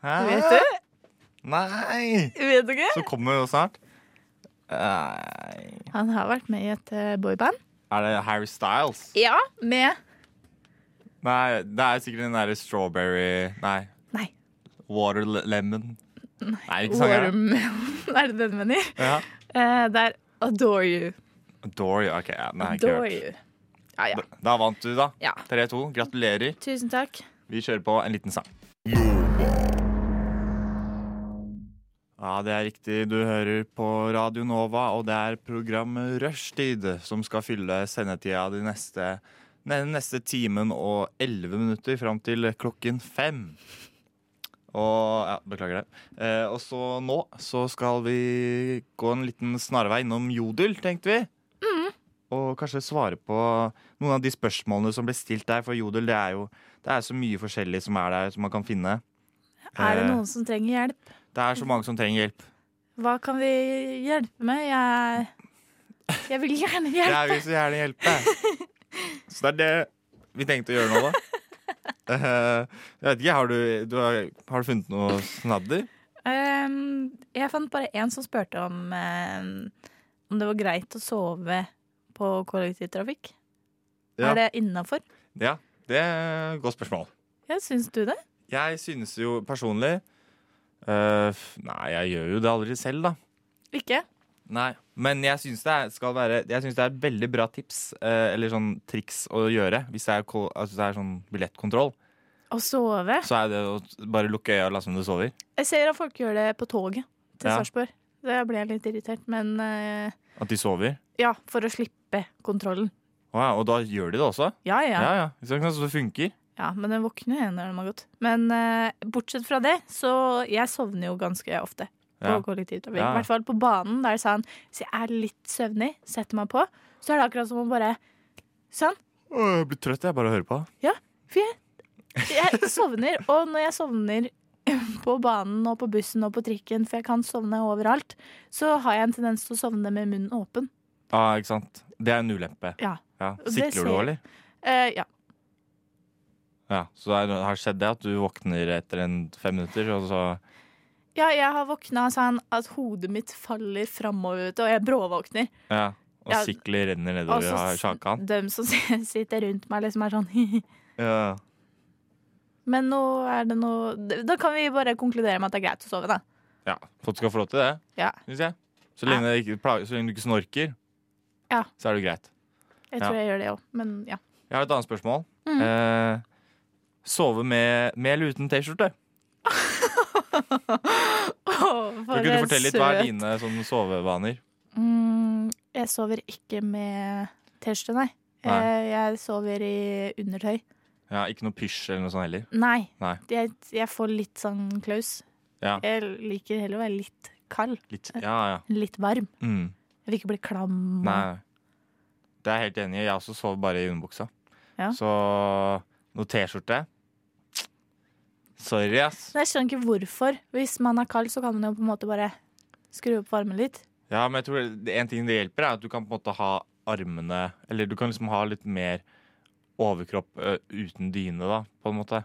Hæ? Vet du? Nei! Vet du ikke? Så kommer jo snart. Nei. Han har vært med i et eh, boyband. Er det Harry Styles? Ja. Med Nei, det er sikkert den derre strawberry Nei. Nei. Water le- lemon. Nei, ikke sangen. Watermelon. [LAUGHS] Er det den du mener? Ja. Eh, det er Adore You. Dory. OK, ja, nei, ikke Adore hørt. You. Ja, ja. Da vant du, da. Ja. 3-2. Gratulerer. Tusen takk. Vi kjører på en liten sang. Ja, det er riktig. Du hører på Radio Nova, og det er programmet Rushtid som skal fylle sendetida de neste, den neste timen og elleve minutter fram til klokken fem. Og ja, beklager det. Eh, og så nå så skal vi gå en liten snarvei innom Jodel, tenkte vi. Mm. Og kanskje svare på noen av de spørsmålene som ble stilt der, for Jodel det er jo det er så mye forskjellig som er der, som man kan finne. Er det Eh, noen som trenger hjelp? det er så mange som trenger hjelp. Hva kan vi hjelpe med? Jeg, jeg vil [LAUGHS] gjerne hjelpe. Jeg vil så gjerne hjelpe. [LAUGHS] Så det er det vi tenkte å gjøre nå, da. Eh, jeg vet ikke, har du, du har, har du funnet noe snadder? Ehm, jeg fant bare en som spurte om, ehm, om det var greit å sove på kollektivtrafikk. Ja. Er det innafor? Ja, det er et godt spørsmål. Ja, syns du det? Jeg synes jo personlig eh, f- Nei, jeg gjør jo det aldri selv, da. Ikke? Nei. Men jeg syns det, er- skal være, jeg synes det er et veldig bra tips, eh, eller sånn triks å gjøre, hvis det er, ko- altså det er sånn billettkontroll. Å sove? Så er det å bare lukke øya og late som du sover. Jeg ser at folk gjør det på toget til Ja. Sarpsborg. Det ble jeg litt irritert, men eh, At de sover. ja, for å slippe kontrollen. Å ja, og da gjør de det også? Ja, ja. Ja, ja. ja. Hvis det er sånn at det funker. men den våkner jo igjen når den har gått. Men eh, bortsett fra det, så jeg sovner jo ganske ofte på Ja. kollektivtrafikk. Ja, I ja. hvert fall på banen, der sånn, hvis jeg er litt søvnig, setter meg på, så er det akkurat som å bare Sånn. Å, Jeg blir trøtt, jeg. Bare hører på. For jeg, jeg sovner, og når jeg sovner på banen og på bussen og på trikken, for jeg kan sovne overalt, så har jeg en tendens til å sovne med munnen åpen. Ja, ikke sant. Det er en ulempe. Ja. Ja. det ser- Sikler du òg, eller? Eh, ja. Ja. Så det er- har skjedd det at du våkner etter en fem minutter, og så ja, jeg har våkna sånn at hodet mitt faller framover, vet du, og jeg bråvåkner. Ja. Og Ja, sikler renner Og nedover av så sjakan. de som s- [LAUGHS] sitter rundt meg, liksom er sånn [LAUGHS] Ja. Men nå er det noe Da kan vi bare konkludere med at det er greit å sove, da. ja. Folk skal få lov til det, Ja. syns jeg. Så lenge, det ikke, plager- så lenge du ikke snorker, Ja. så er det greit. Jeg Ja. tror jeg gjør det òg, men ja. [LAUGHS] Jeg har et annet spørsmål. Mm. Eh, sove med, med eller uten T-skjorte? for Kan ikke en du fortelle litt hva søt. er dine sånn, sovevaner? Mm, jeg sover ikke med T-skjorte, nei. Nei. Eh, Jeg sover i undertøy. Ja, ikke noe pysj eller noe sånt heller. Nei. Nei. Jeg, jeg får litt sånn klaus. Ja. Jeg liker heller å være litt kald. Litt, ja, ja. Litt varm. Mm. Jeg vil ikke bli klam. Nei. nei. Det er jeg helt enig i. Jeg også sover bare i underbuksa. Ja. Så noe T-skjorte Sorry, ass. Men jeg skjønner ikke hvorfor. Hvis man er kald, så kan man jo på en måte bare skru opp varmen litt. Ja, men jeg tror det- En ting det hjelper, er at du kan på en måte ha armene Eller du kan liksom ha litt mer overkropp ø, uten dyne, da, på en måte.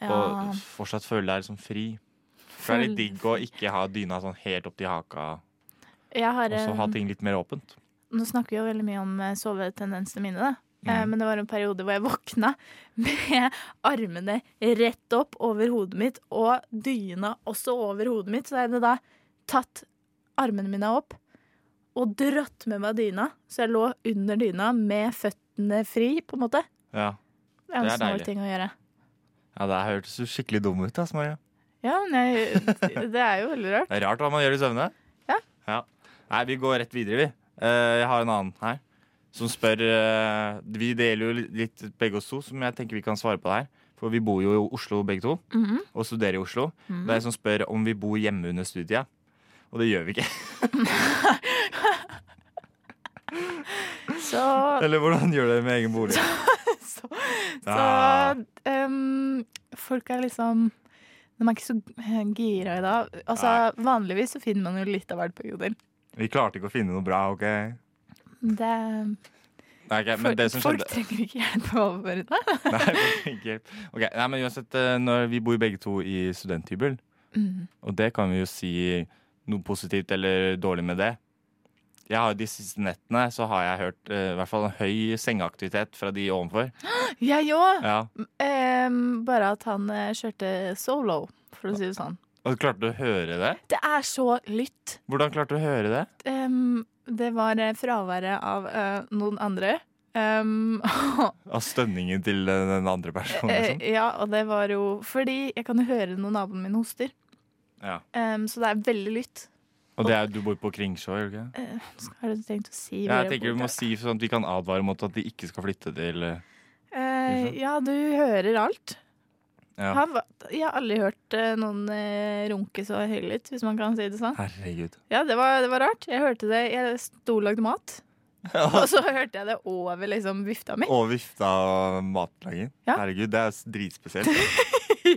Ja. Og fortsatt føle deg liksom fri. For det er litt digg å ikke ha dyna sånn helt opp til haka, Jeg har og så ha en, ting litt mer åpent. nå snakker vi jo veldig mye om eh, sovetendensene mine, da. Eh, Mm. Men det var en periode hvor jeg våkna [LAUGHS] med armene rett opp over hodet mitt, og dyna også over hodet mitt. Så jeg hadde da tatt armene mine opp og dratt med meg dyna. Så jeg lå under dyna med føttene fri, på en måte. Ja. Det Det er er en snål deilig. ting å gjøre. ja, det her hørtes jo skikkelig dum ut, ass, Maria. Ja, men jeg, [LAUGHS] det er jo veldig rart. Det er rart hva man gjør i søvne. Ja. Nei, vi går rett videre, vi. Eh, jeg har en annen her som spør eh, Vi deler jo litt- litt begge oss to, som jeg tenker vi kan svare på det her. For vi bor jo i Oslo begge to, og studerer i Oslo. [LAUGHS] Det er en som spør om vi bor hjemme under studiet. Og det gjør vi ikke. Så, [LAUGHS] Eller hvordan gjør dere med egen bolig? så, så Ja. ehm, folk er liksom De er ikke så gira i dag. Altså, vanligvis så finner man jo litt av hvert på Jodel. Vi klarte ikke å finne noe bra, OK? Nei, Det, ok, men det som folk skjedde trenger ikke hjelp med å overføre det. [LAUGHS] Nei, ikke. [LAUGHS] Ok, nei, men uansett, eh, når vi bor begge to i studenthybel, Mm. og det kan vi jo si noe positivt eller dårlig med det. Jeg har De siste nettene så har jeg hørt eh, i hvert fall en høy sengeaktivitet fra de ovenfor. Jeg òg. Ja. Ehm, bare at han eh, kjørte solo, for å si det sånn. Og klarte du å høre det? Det er så lytt. Hvordan klarte du å høre det? Ehm, det var eh, fraværet av eh, noen andre. Ehm, [LAUGHS] og, Av stønningen til eh, den andre personen, eh, liksom? ja, og det var jo fordi jeg kan jo høre når naboen min hoster. Ja. Ehm, så det er veldig lytt. Eh, Og det er, du bor på Kringsjå, gjør du ikke? det? Har du tenkt å Ja, si hvor jeg tenker bor vi må da? si sånn at vi kan advare mot at de ikke skal flytte til eh, Eh, Ja, du hører alt. Mhm. Ja, Han var, jeg har aldri hørt eh, noen eh, runke så høylytt, hvis man kan si det sånn. herregud. Ja, det var, det var rart. Jeg hørte det Jeg sto og lagde mat, [LAUGHS] og så hørte jeg det over liksom vifta mi. Og vifta og matlaging. Ja. Herregud, det er s- dritspesielt. [LAUGHS]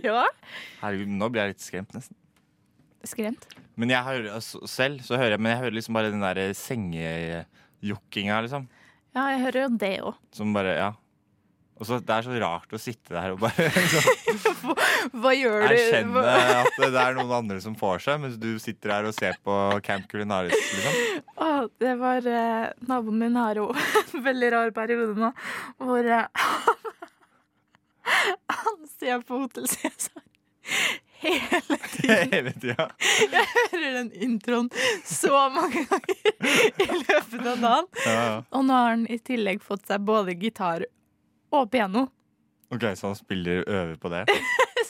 [LAUGHS] ja. Herregud, nå blir jeg litt skremt, nesten. Skremt. Men jeg hører altså, selv, så hører jeg, men jeg hører liksom bare den der sengejokkinga, liksom. Ja, jeg hører jo det òg. Som bare, ja. Og så, det er så rart å sitte der og bare liksom, Hva gjør du? erkjenne Hva- at det er noen andre som får seg, mens du sitter her og ser på Camp Culinaris, liksom. [LAUGHS] Å, det var eh, Naboen min har jo [LAUGHS] en veldig rar periode nå, hvor eh, [LAUGHS] han ser på Hotell Cæsar [LAUGHS] hele Hele tida. hører den introen så mange ganger [LAUGHS] i løpet av dagen. Ja, ja. Og nå har han i tillegg fått seg både gitar og piano. [LAUGHS] OK, så han spiller øver på det.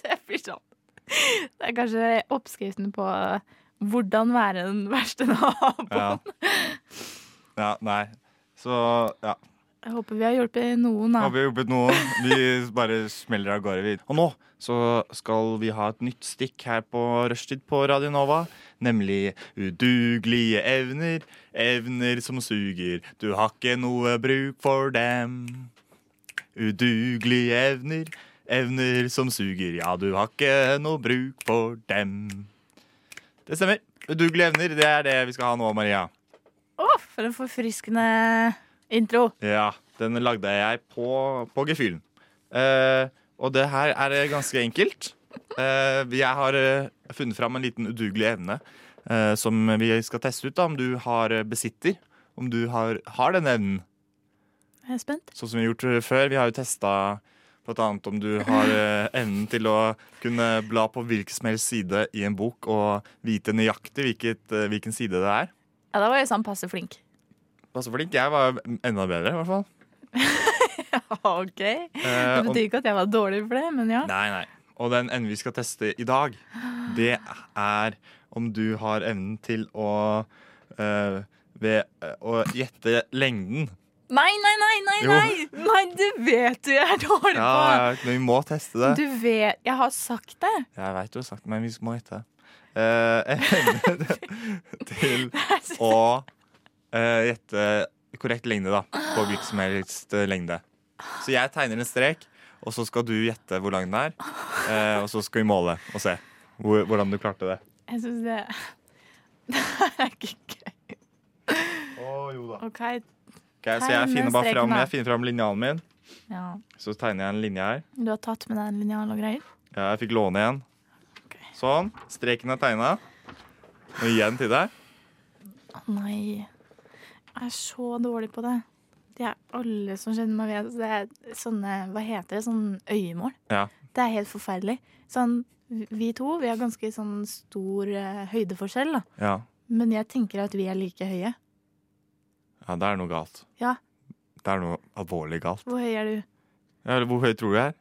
Så jeg blir sånn Det er kanskje oppskriften på eh, hvordan være den verste [LAUGHS] naboen. Ja. ja nei. Så ja. Jeg håper vi har hjulpet noen, Har da. vi hjulpet noen? Vi bare smeller av gårde, vi. Og nå så skal vi ha et nytt stikk her på Rushtid på Radio Nova. Nemlig udugelige evner, evner som suger. Du har ikke noe bruk for dem. Udugelige evner, evner som suger. Ja, du har ikke noe bruk for dem. Det stemmer. Udugelige evner, det er det vi skal ha nå, Maria. Å, for en forfriskende intro. Ja, den lagde jeg på, på gefühlen. Eh, og det her er ganske enkelt. Eh, jeg har eh, funnet fram en liten udugelig evne eh, som vi skal teste ut da, om du har eh, besitter. Om du har, har den evnen, Jeg er spent. sånn som vi har gjort eh, før. Vi har jo testa bl.a. om du har eh, evnen til å kunne bla på hvilken som helst side i en bok og vite nøyaktig hvilket, eh, hvilken side det er. Ja, da var jeg sånn passe [LAUGHS] flink. Passe flink. Jeg var enda bedre, i hvert fall. OK. Det Eh, og- betyr ikke at jeg var dårlig for det, men ja. Nei, nei. Og den evnen vi skal teste i dag, det er om du har evnen til å eh, ved eh, å gjette lengden. Nei, nei, nei, nei, Jo. nei! Nei, Du vet du jeg er dårlig Ja, på! ja, men vi må teste det. Du vet Jeg har sagt det. [LAUGHS] Jeg veit du har sagt det, men vi må gjette. Eh, evnen [LAUGHS] til å eh, gjette korrekt lengde, da. På hvilken som helst eh, lengde. Så jeg tegner en strek, og så skal du gjette hvor lang den er. eh, og så skal vi måle og se hvor, hvordan du klarte det. Jeg syns det [LAUGHS] Det er ikke gøy. OK. Ok, så jeg Tegne finner bare streken, fram, da. jeg finner fram linjalen min, Ja. så tegner jeg en linje her. Du har tatt med deg en linjal og greier? Ja, jeg fikk låne en. Sånn. Streken er tegna. Nå gir jeg den til deg. Å nei. Jeg er så dårlig på det. Det er alle som kjenner meg vet Det er sånne Hva heter det? Sånn øyemål. Ja. Det er helt forferdelig. Sånn, vi to vi har ganske sånn stor eh, høydeforskjell, da. Ja, Men jeg tenker at vi er like høye. ja det er noe galt. Ja. Det er noe alvorlig galt. Hvor høy er du? Ja, eller hvor høy tror du jeg er?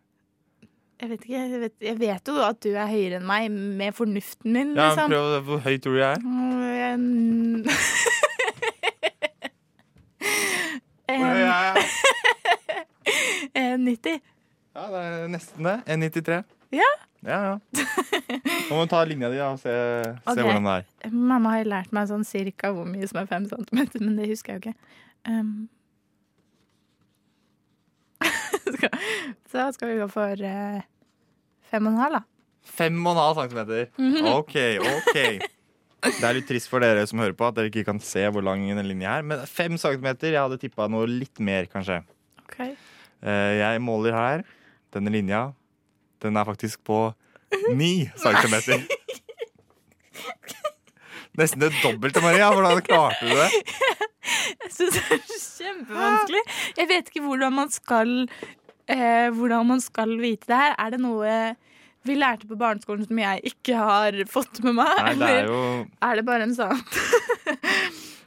Jeg vet ikke. Jeg vet, jeg vet jo at du er høyere enn meg med fornuften min, Ja, liksom. prøv, hvor høy tror du jeg er? Mm, en- Hvor høy er jeg? [LAUGHS] en 90. Ja, det er nesten det. 1,93. Ja. Ja, [LAUGHS] ja. Nå må du ta linja di da, og se, se Ok. hvordan det er. Mamma har lært meg sånn cirka hvor mye som er fem centimeter, men det husker jeg jo ikke. Um. [LAUGHS] Skal- Så da skal vi gå for eh, fem og en halv, da. Fem og en halv centimeter. OK, OK. Det er litt trist for dere som hører på, at dere ikke kan se hvor lang den linja er. Men fem centimeter, jeg hadde tippa noe litt mer, kanskje. Eh, Jeg måler her. Denne linja, den er faktisk på ni centimeter. Nesten det dobbelte, Maria. Hvordan klarte du det? Jeg syns det er kjempevanskelig. Ah! Jeg vet ikke hvordan man skal eh, Hvordan man skal vite det her. Er det noe vi lærte på barneskolen som jeg ikke har fått med meg? Nei, det er eller jo er det bare en sånn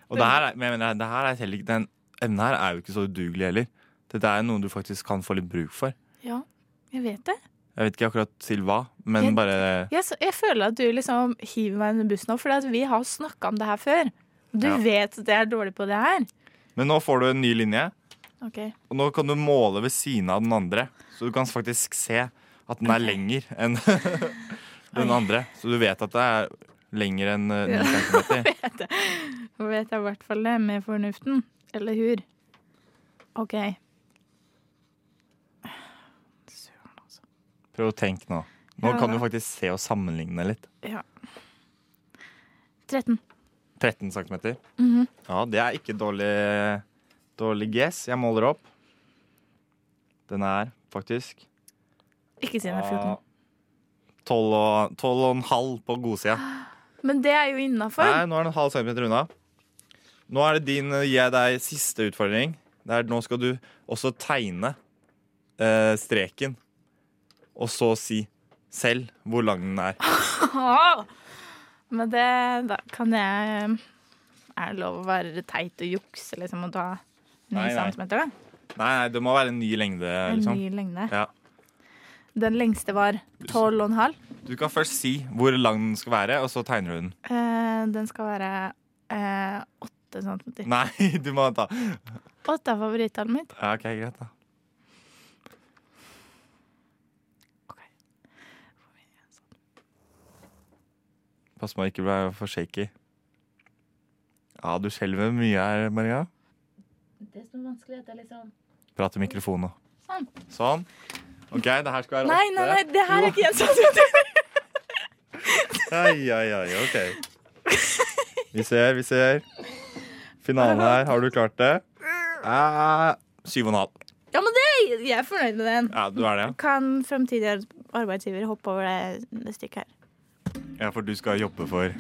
Og det her er, men jeg mener, det her er heller ikke Den emnet her er jo ikke så udugelig heller. Dette er noe du faktisk kan få litt bruk for. Ja, jeg vet det. Jeg vet ikke akkurat til hva, men Jeg- bare Jeg, s- jeg føler at du liksom hiver meg under bussen nå, for vi har snakka om det her før. Du Ja. vet at jeg er dårlig på det her. Men nå får du en ny linje, Ok, og nå kan du måle ved siden av den andre. Så du kan faktisk se at den er lenger enn [LAUGHS] den andre. Så du vet at det er lenger enn eh, Ja. 9 [LAUGHS] cm. Nå vet jeg i hvert fall det med fornuften. Eller hur? OK. Søren, altså. Prøv å tenke nå. Nå Ja, kan du da. faktisk se og sammenligne litt. Ja. 13. 13 cm. Mhm. Ja, det er ikke dårlig, dårlig guess. Jeg måler opp. Den er faktisk Ikke siden jeg er 14. 12 og, 12 og en halv på godsida. Men det er jo innafor. Nei, nå er den en halv centimeter unna. Nå er det din, gir jeg deg siste utfordring. Det er, nå skal du også tegne eh, streken. Og så si selv hvor lang den er. Men det, da kan jeg Er det lov å være teit og jukse liksom, og ta 9 Nei, nei. centimeter? Da? Nei, nei, det må være en ny lengde. En Liksom. ny lengde. Ja. Den lengste var 12,5. Du kan først si hvor lang den skal være, og så tegner du den. Eh, den skal være eh, 8 centimeter. Nei, [LAUGHS] du må ta Åtte er favorittallet mitt. ja, OK, greit, da. Pass på å ikke bli for shaky. Ja, du skjelver mye her, Maria. Det som er vanskelig, er liksom Prat i mikrofonen nå. Sånn. Sånn. OK, det her skal være Nei, nei, nei, det her er ikke en centimeter. [LAUGHS] [LAUGHS] Ai, ai, ai, OK. Vi ser, vi ser. Finalen her. Har du klart det? Eh, syv og en halv. Ja, men det, jeg er fornøyd med den. Ja, du er det? Kan fremtidige arbeidsgivere hoppe over det, det stykket her? Ja, for du skal jobbe for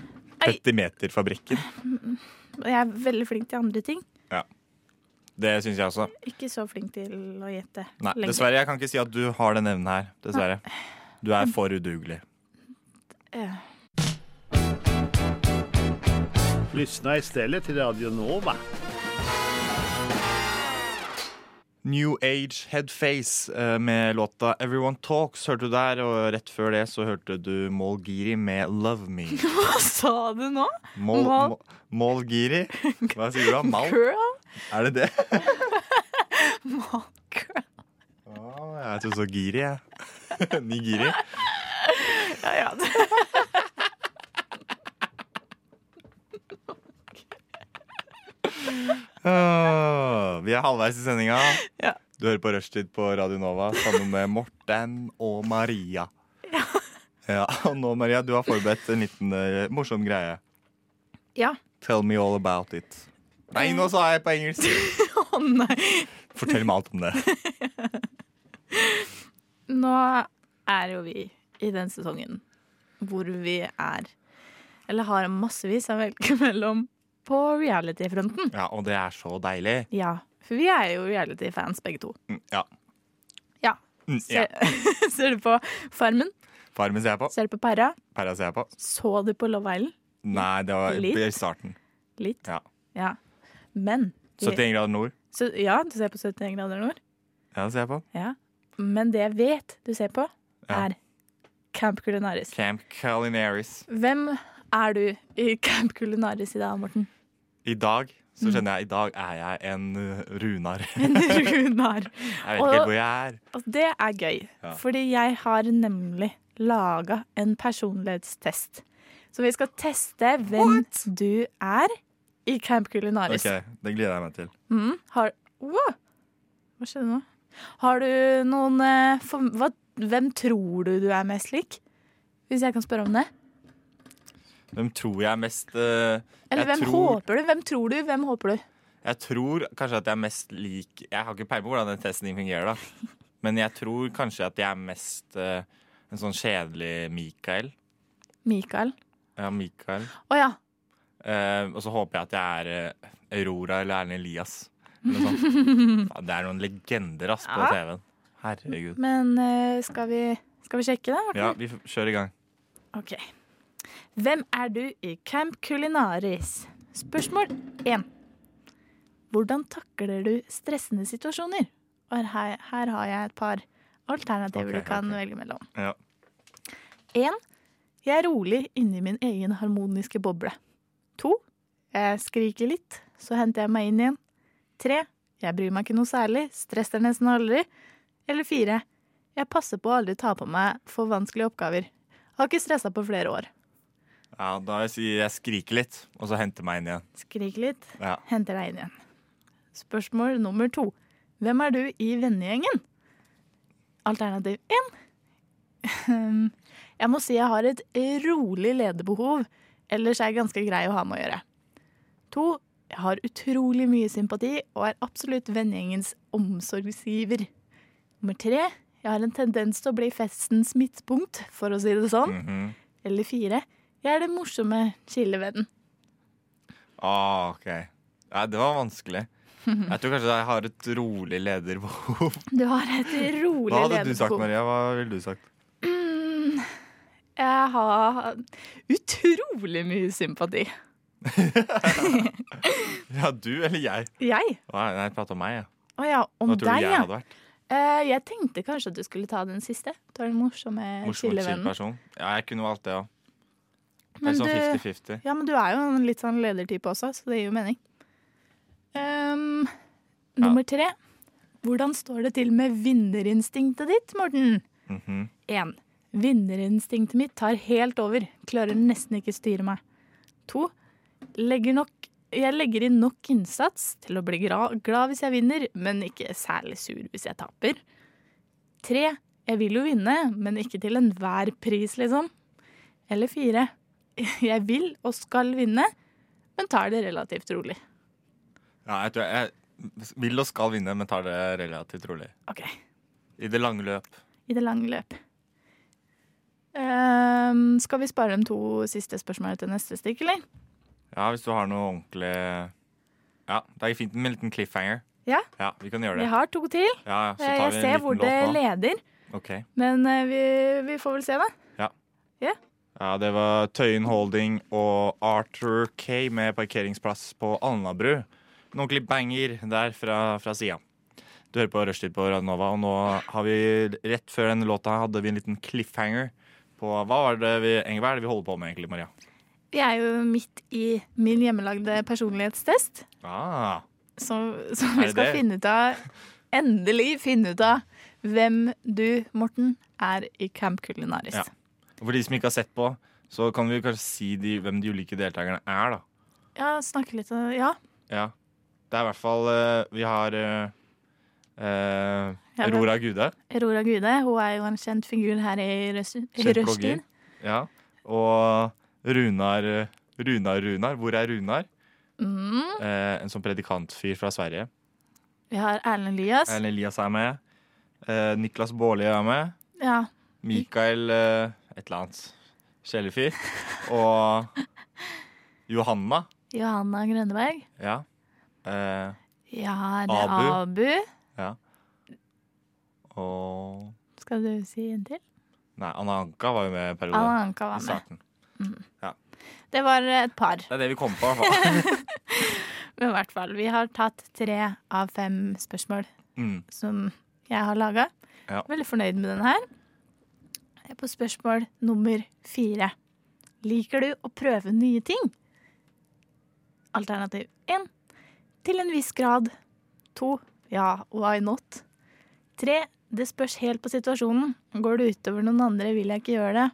Petimeterfabrikken. Og Jeg er veldig flink til andre ting. Det syns jeg også. Ikke så flink til å gjette. Nei, lenge. dessverre. Jeg kan ikke si at du har den evnen her. Dessverre. Du er for udugelig. Eh, [LAUGHS] Lyssna istället till Radio Nova. New Age Headface eh, med låta Everyone Talks hørte du der. Og rett før det så hørte du Mål Giri med Love Me. Hva sa du nå? Mål, Mal. Mål- Mål Giri? Hva sier du da? [LAUGHS] Mal? Girl? Er det det? Mal- girl. Å, jeg tror så Giri, jeg. [LAUGHS] Nigiri. Ja, ja. Åh, vi er halvveis i sendinga. Ja. Du hører på Rushtid på Radio Nova sammen med Morten og Maria. Ja. og nå, Maria, du har forberedt en liten eh, morsom greie. Ja. Tell me all about it. Nei, nå sa jeg på engelsk! [LAUGHS] Å nei. Fortell meg alt om det. Nå er jo vi i den sesongen hvor vi er Eller har massevis av velge [LAUGHS] mellom på reality-fronten. Ja, Og det er så deilig. Ja, for vi er jo reality-fans begge to. Mm, Ja. Ja. Mm, ja. Ser, ser [LAUGHS] du på Farmen? Farmen ser jeg på. Ser du på Para? Perra ser jeg på. Så du på Love Island? Nei, det var Litt. i starten. Litt. Ja. Ja. Men 71 grader nord. så, Ja, du ser på 71 grader nord. Ja, det ser jeg på. Ja. Men det jeg vet du ser på, Ja. er Camp Culinaris. Camp Calinaris. Hvem er du i Camp Culinaris i dag, Morten? [LAUGHS] I dag så kjenner jeg i dag er jeg en eh, Runar. Jeg Runar. vet ikke helt hvor jeg er. Og Altså, det er gøy, Ja. fordi jeg har nemlig laga en personlighetstest. Så vi skal teste hvem du er i Camp Culinaris. Ok, Det gleder jeg meg til. Mm. Har wow. Hva skjedde nå? Har du noen eh, for, hva, Hvem tror du du er mest lik? Hvis jeg kan spørre om det. Hvem tror jeg er mest eh, Eller jeg, hvem tror, håper du? Hvem tror du? Hvem håper du? jeg tror kanskje at jeg er mest lik Jeg har ikke peiling på hvordan den testen din [LAUGHS] fungerer, da. Men jeg tror kanskje at jeg er mest eh, en sånn kjedelig Mikael. Mikael. Ja, Mikael. Å ja. Eh, og så håper jeg at jeg er eh, Aurora eller Erlend Elias. Eller noe sånt. [LAUGHS] Ja, det er noen legender ass, på Ja. TV-en. Herregud. Men eh, skal, vi, skal vi sjekke det? Morten? Ja, vi f- kjører i gang. Ok. Hvem er du i Camp Culinaris? Spørsmål 1. Hvordan takler du stressende situasjoner? Og her, her har jeg et par alternativer Ok, du kan ok. velge mellom. Ja. 1. Jeg er rolig inni min egen harmoniske boble. 2. Jeg skriker litt, så henter jeg meg inn igjen. 3. Jeg bryr meg ikke noe særlig, stresser nesten aldri. Eller 4. Jeg passer på å aldri ta på meg for vanskelige oppgaver. Har ikke stressa på flere år. Ja, da vil jeg si jeg skriker litt, og så henter meg inn igjen. Skrik litt, Ja. henter deg inn igjen. Spørsmål nummer to. Hvem er du i vennegjengen? Alternativ én. [LAUGHS] Jeg må si jeg har et rolig lederbehov, ellers er jeg ganske grei å ha med å gjøre. To. Jeg har utrolig mye sympati og er absolutt vennegjengens omsorgsgiver. Nummer tre. Jeg har en tendens til å bli festens midtpunkt, for å si det sånn. Mhm. Eller fire. Jeg er den morsomme chillevennen. Ah, ok. Nei, det var [LAUGHS] vanskelig. Jeg tror kanskje jeg har et rolig lederbehov. Du har et [LAUGHS] rolig Hva hadde du sagt, lederbehov. Maria? Hva ville du sagt? [LAUGHS] Jeg har utrolig mye sympati. Ja, du eller jeg? Jeg? Nei, nei prate om meg, ja. Å ja, om Hva tror deg, du jeg ja. hadde vært? Eh, jeg tenkte kanskje at du skulle ta den siste. Du er den morsomme Morsom og chill chillevennen. person. Ja, jeg kunne valgt det òg. Men Sånn du- 50-50. Ja, men du er jo en litt sånn ledertype også, så det gir jo mening. Ehm, nummer tre. Hvordan står det til med vinnerinstinktet ditt, Morten? Mhm. Én. Vinnerinstinktet mitt tar helt over. Klarer nesten ikke styre meg. To. Legger nok jeg legger inn nok innsats til å bli gra- glad hvis jeg vinner, men ikke særlig sur hvis jeg taper. Tre. Jeg vil jo vinne, men ikke til enhver pris, liksom. Eller fire. [LAUGHS] Jeg vil og skal vinne, men tar det relativt rolig. Ja, jeg tror jeg, jeg vil og skal vinne, men tar det relativt rolig. OK. I det lange løp. I det lange løp. Ehm, skal vi spare de to siste spørsmålene til neste stikk, eller? Ja, hvis du har noe ordentlig Ja, det er fint med en liten cliffhanger. Ja. Ja, Vi kan gjøre Vi det. har to til. Ja, ja, så tar Jeg vi en ser liten hvor låt det nå. leder, Ok. men eh, vi, vi får vel se, da. Ja, det var Tøyen Holding og Arthur Kay med parkeringsplass på Alnabru. En ordentlig banger der fra, fra sida. Du hører på Rushtid på Radio Nova, og nå har vi rett før den låta hadde vi en liten cliffhanger på Hva var det vi, egentlig, hva er det vi holder på med egentlig, Maria? Vi er jo midt i min hjemmelagde personlighetstest, Ah, som, som Er vi det skal det? finne ut av Endelig finne ut av hvem du, Morten, er i Camp Culinaris. Ja. og for de som ikke har sett på, så kan vi kanskje si de, hvem de ulike deltakerne er, da. Ja, snakke litt om Ja. Ja. Det er i hvert fall eh, Vi har eh, eh, Ja, men- Aurora Gude. Aurora Gude, hun er jo en kjent figur her i Røs- i Kjent blogger. Rushtid. Ja. Og Runar eh, Runar Runar. Hvor er Runar? Mm. Eh, en sånn predikantfyr fra Sverige. Vi har Erlend Elias. Erlend Elias er med. Eh, Niklas Baarli er med. Ja. Mikael eh, et eller annet kjælefyr. Og Johanna. Johanna Grønneberg. Ja. Eh, Ja, det er Abu. Abu. og Skal du si en til? Nei, Anna Anka var jo med i perioden. Anna Anka I var med. starten. Det var eh, et par. Det er det vi kom på. i hvert fall. Men i hvert fall, vi har tatt tre av fem spørsmål [LAUGHS] Mm. som jeg har laga. Ja. Veldig fornøyd med den her. Jeg er på spørsmål nummer fire. Liker du å prøve nye ting? Alternativ én til en viss grad. To ja, why not? Tre det spørs helt på situasjonen. Går det utover noen andre, vil jeg ikke gjøre det.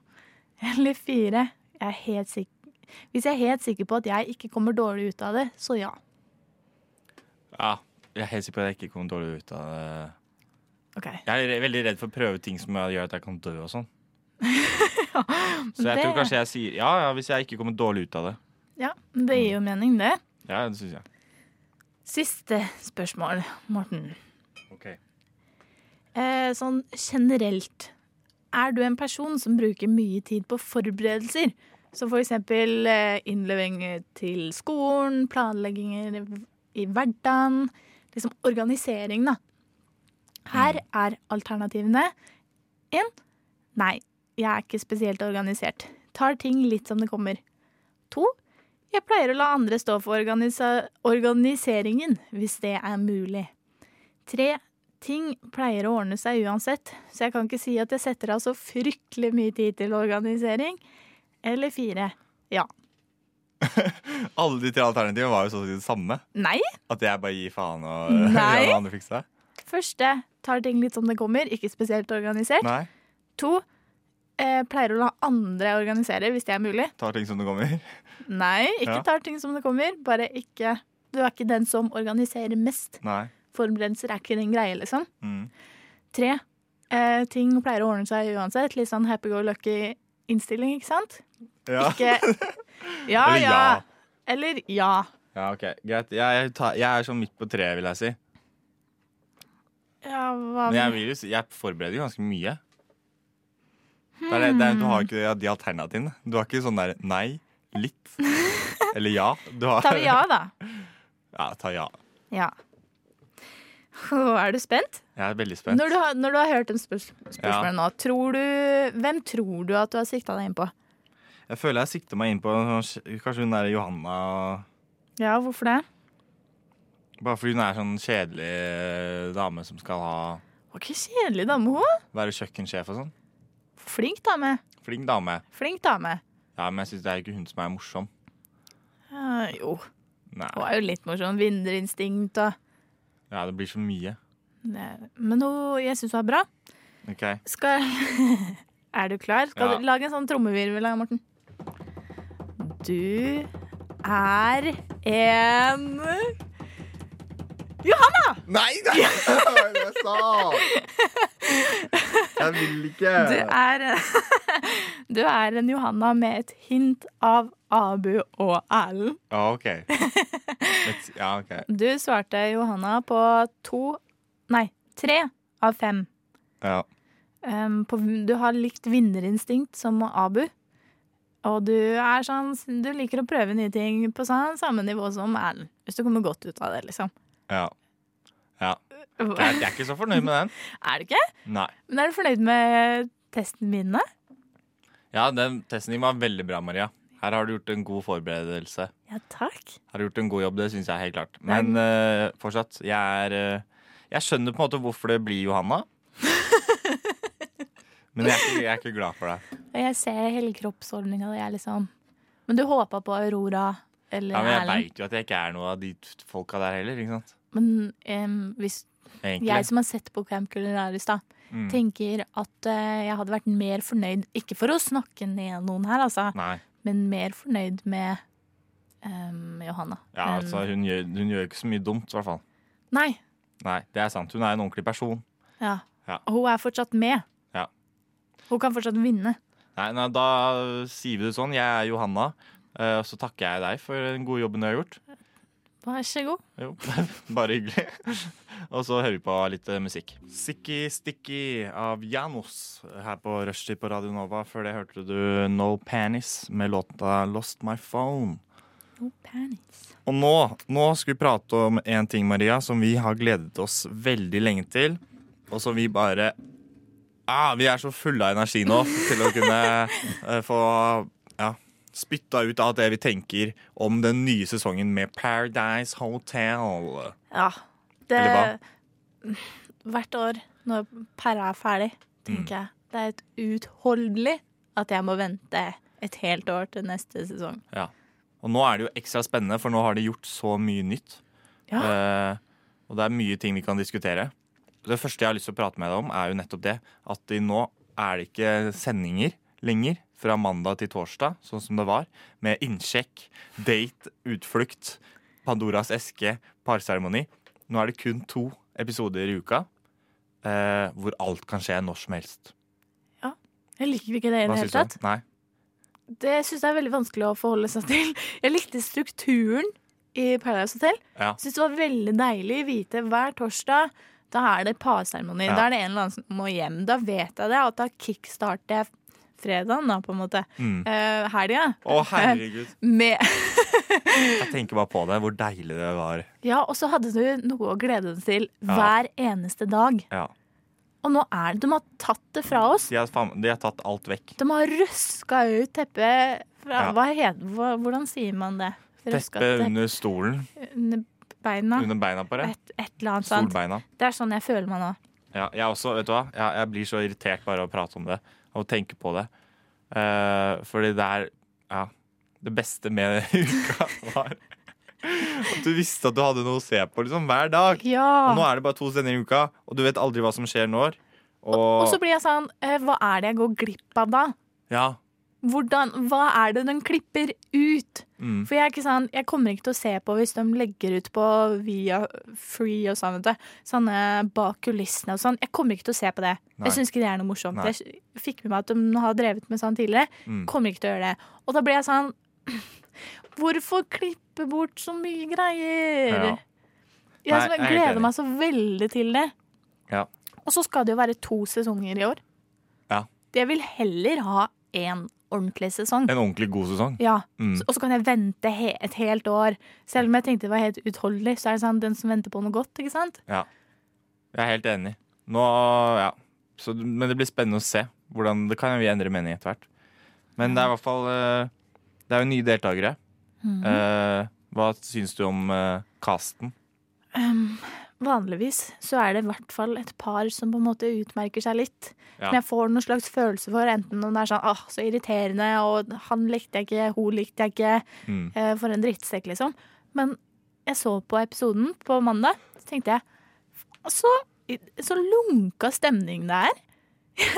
Eller fire jeg er helt sikker. Hvis jeg er helt sikker på at jeg ikke kommer dårlig ut av det, så ja. Ja, jeg er helt sikker på at jeg ikke kom dårlig ut av det. Ok. Jeg er re- veldig redd for å prøve ting som gjør at jeg kan dø og [LAUGHS] sånn. Så jeg det- tror kanskje jeg sier ja, ja hvis jeg ikke kommer dårlig ut av det. Ja, det gir jo mening, det. Ja, det synes jeg. Siste spørsmål, Morten. Ok. Eh, sånn generelt. Er du en person som bruker mye tid på forberedelser? Som for eksempel eh, innleveringer til skolen, planlegginger i hverdagen. Liksom organisering, da. Her er alternativene. En, Nei, jeg er ikke spesielt organisert. Tar ting litt som det kommer. To, Jeg pleier å la andre stå for organisa organiseringen, hvis det er mulig. Tre, Ting pleier å ordne seg uansett, så jeg kan ikke si at jeg setter av så fryktelig mye tid til organisering. Eller fire. Alle de tre alternativene var jo sånn det samme. Nei! At jeg bare gir faen og [LAUGHS] Nei. lar noen andre fikse det. Første tar ting litt som det kommer, ikke spesielt organisert. Nei. To eh, pleier å la andre organisere hvis det er mulig. Tar ting som det kommer. [LAUGHS] Nei, ikke Ja. tar ting som det kommer, bare ikke Du er ikke den som organiserer mest. Nei. Forberedelser er ikke din greie, liksom. Mm. Tre eh, ting pleier å ordne seg uansett. Litt sånn happy go lucky-innstilling, ikke sant? Ja. Ikke Ja, Eller ja. ja. Eller ja. ja, ok. Greit. Jeg, tar, jeg er sånn midt på treet, vil jeg si. Ja, hva Men jeg, vil jo si, jeg forbereder jo ganske mye. Hmm. Det er det, det er, du har ikke de alternativene. Du har ikke sånn der nei, litt [LAUGHS] eller ja. Du har, Tar vi ja, da? [LAUGHS] Ja, ta ja. Ja. Åh, Er du spent? Jeg er veldig spent. Når du har, når du har hørt dem spørs spørsmålene nå, tror du, hvem tror du at du har sikta deg inn på? Jeg føler jeg sikter meg inn på sånn kanskje hun der Johanna. Ja, hvorfor det? Bare fordi hun er sånn kjedelig eh, dame som skal ha, Var ikke kjedelig dame, hun. være kjøkkensjef og sånn. Flink dame. Flink dame. Flink dame. Ja, Men jeg syns det er ikke hun som er morsom. Ja, jo, Nei. hun er jo litt morsom. Vinnerinstinkt og Ja, det blir så mye. Nei, Men hun, jeg syns hun er bra. Ok. Skal [LAUGHS] Er du klar? Skal Ja. du lage en sånn trommevirvel, da, Morten? Du er en Nei, det er det jeg sa! Jeg vil [LAUGHS] ikke. Du er, [LAUGHS] du er en Johanna med et hint av Abu og Erlend. Ja, OK. Let's, ja, ok. Du svarte Johanna på to Nei, tre av fem. Ja. Um, på, du har likt vinnerinstinkt som Abu. Og du er sånn Du liker å prøve nye ting på sånn, samme nivå som Erlend. Hvis du kommer godt ut av det, liksom. ja. Jeg, Er jeg er ikke så fornøyd med den. du ikke? Nei. Men er du fornøyd med testen min? da? Ja, den testen din var veldig bra, Maria. Her har du gjort en god forberedelse. Ja, takk. Har gjort en god jobb, det syns jeg helt klart. Men eh, fortsatt, jeg er eh, Jeg skjønner på en måte hvorfor det blir Johanna. Men jeg er ikke, jeg er ikke glad for det. Og jeg ser hele kroppsordninga di, jeg er liksom Men du håpa på Aurora eller Ja, men jeg Erlend. veit jo at jeg ikke er noe av de t- folka der heller. ikke sant? Men em, hvis jeg Egentlig. som har sett på Camp Culinaris, da, Mm. tenker at eh, jeg hadde vært mer fornøyd Ikke for å snakke ned noen her, altså, Nei. men mer fornøyd med em, Johanna. Ja, enn- altså, hun gjør, hun gjør ikke så mye dumt, i hvert fall. Nei. Nei, det er sant. Hun er en ordentlig person. Ja. Ja. Og Hun er fortsatt med. Ja. Hun kan fortsatt vinne. Nei, nei, da sier vi det sånn. Jeg er Johanna. eh, Og så takker jeg deg for den gode jobben du har gjort. Vær så god. Jo, [LAUGHS] bare hyggelig. Og så hører vi på litt eh, musikk. Sticky Sticky av Janos her på Rushtid på Radio Nova. Før det hørte du No Panis med låta Lost My Phone. No panics. Og nå, nå skal vi prate om en ting, Maria, som vi har gledet oss veldig lenge til. Og som vi bare ah, Vi er så fulle av energi nå til å kunne [LAUGHS] eh, få ja, spytta ut alt det vi tenker om den nye sesongen med Paradise Hotel. Ja. Det, Eller Hvert år når pæra er ferdig, Mm. tenker jeg det er et uutholdelig at jeg må vente et helt år til neste sesong. Ja. Og nå er det jo ekstra spennende, for nå har de gjort så mye nytt. Ja. Eh, og det er mye ting vi kan diskutere. Det første jeg har lyst til å prate med deg om, er jo nettopp det at de nå er det ikke sendinger lenger fra mandag til torsdag, sånn som det var, med innsjekk, date, utflukt, Pandoras eske, parseremoni. Nå er det kun to episoder i uka eh, hvor alt kan skje når som helst. Jeg liker ikke det i Hva det hele syns du? tatt. Nei. Det syns jeg er veldig vanskelig å forholde seg til. Jeg likte strukturen i Paradise Hotel. Ja. Syns det var veldig deilig å vite hver torsdag. Da er det parseremoni. Ja. Da er det en eller annen som må hjem. Da vet jeg det, at da kickstarter jeg fredagen, da, på en måte. Mm. Eh, helga. Å, herregud. [LAUGHS] Med Jeg tenker bare på det, hvor deilig det var. Ja, og så hadde du noe å glede deg til hver eneste dag. Ja. Og nå er det De har tatt det fra oss. De har, faen- de har tatt alt vekk. De har røska ut teppet fra Ja. hva heter, hva, Hvordan sier man det? Røska Teppet under stolen, under beina? under beina på deg. Et, et eller annet sånt. Solbeina. Det er sånn jeg føler meg nå. Ja, jeg også, vet du hva? Jeg, jeg blir så irritert bare av å prate om det og tenke på det. Eh, fordi det er ja, det beste med [LAUGHS] uka var at du visste at du hadde noe å se på liksom, hver dag. Og nå Ja. er det bare to sender i uka, og du vet aldri hva som skjer når. Og, Og så blir jeg sånn eh, Hva er det jeg går glipp av da? ja, Hvordan, hva er det de klipper ut? mm, For jeg er ikke sånn, jeg kommer ikke til å se på hvis de legger ut på via free og sånn, vet du. Sånne bak kulissene og sånn. Jeg kommer ikke til å se på det. Nei. Jeg syns ikke det er noe morsomt. Nei. Jeg fikk med meg at de har drevet med sånn tidligere. Mm. Kommer ikke til å gjøre det. Og da blir jeg sånn [CLEARS THROAT] Hvorfor klippe bort så mye greier? ja. Nei, Jeg, som jeg er helt gleder meg så veldig til det. Ja. Og så skal det jo være to sesonger i år. Ja. Jeg vil heller ha én ordentlig sesong. En ordentlig god sesong. Ja, Mm. så- Og så kan jeg vente he et helt år. Selv om jeg tenkte det var helt utholdelig, så er det sånn den som venter på noe godt, ikke sant? Jeg er helt enig. Nå, ja. så, men det blir spennende å se. Hvordan, det kan jo vi endre mening etter hvert. Men det er i hvert fall eh, Det er jo nye deltakere. Mhm. Eh, hva syns du om eh, casten? Ehm, vanligvis så er det i hvert fall et par som på en måte utmerker seg litt. Ja. Som jeg får noen slags følelse for, enten om det er sånn åh, så irriterende, og han likte jeg ikke, hun likte jeg ikke, Mm. eh, for en drittsekk, liksom. Men jeg så på episoden på mandag, så tenkte jeg så, så lunka stemning det er.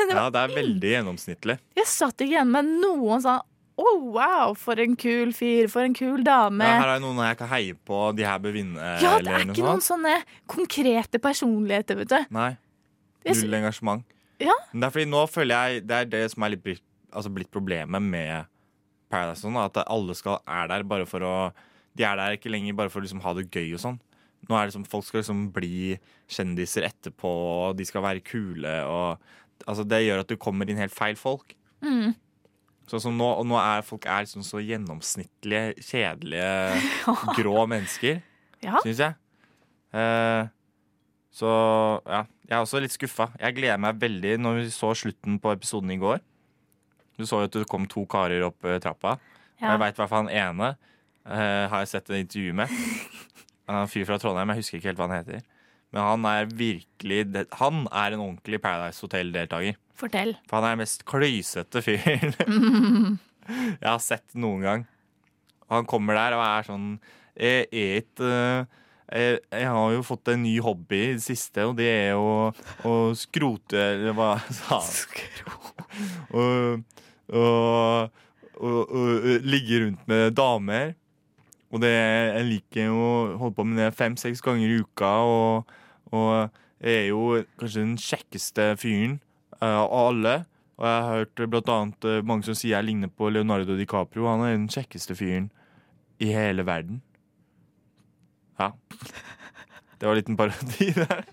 Ja, det er veldig gjennomsnittlig. Jeg satt ikke igjen med noen sånn Å, wow, for en kul fyr, for en kul dame. Ja, her er det noen jeg kan heie på. De her bør vinne. eh, Ja, det eller er noe ikke noen sånt. sånne konkrete personligheter, vet du. Nei. Jeg sy- Null engasjement. Ja. Men det er fordi nå føler jeg Det er det som er litt blitt, altså blitt problemet med Paradise. og Sånn, da, at alle skal, er der bare for å De er der ikke lenger bare for å liksom ha det gøy og sånn. Nå er det liksom, Folk skal liksom bli kjendiser etterpå, og de skal være kule. Og, altså Det gjør at du kommer inn helt feil folk. Mm. Sånn som nå, og nå er folk er liksom så gjennomsnittlige, kjedelige, grå mennesker Ja. syns jeg. Eh, så ja, jeg er også litt skuffa. Jeg gleder meg veldig når vi så slutten på episoden i går. Du så jo at det kom to karer opp eh, trappa. Og Jeg Ja. veit i hvert fall han ene eh, har jeg sett et intervju med. Han er en fyr fra Trondheim, jeg husker ikke helt hva han heter. Men han er virkelig det- Han er en ordentlig Paradise Hotel-deltaker. Fortell. For han er den mest kløysete fyren jeg har sett noen gang. Han kommer der og er sånn Jeg er ikke eh, jeg, jeg har jo fått en ny hobby i det siste, og det er å, å skrote Eller hva sa han? Og, og, og, og ligge rundt med damer. Og det, jeg liker jo å holde på med det fem-seks ganger i uka, og, og jeg er jo kanskje den kjekkeste fyren eh, av alle. Og jeg har hørt eh, blant annet eh, mange som sier jeg ligner på Leonardo DiCaprio. Han er den kjekkeste fyren i hele verden. Ja. Det var en liten parodi der.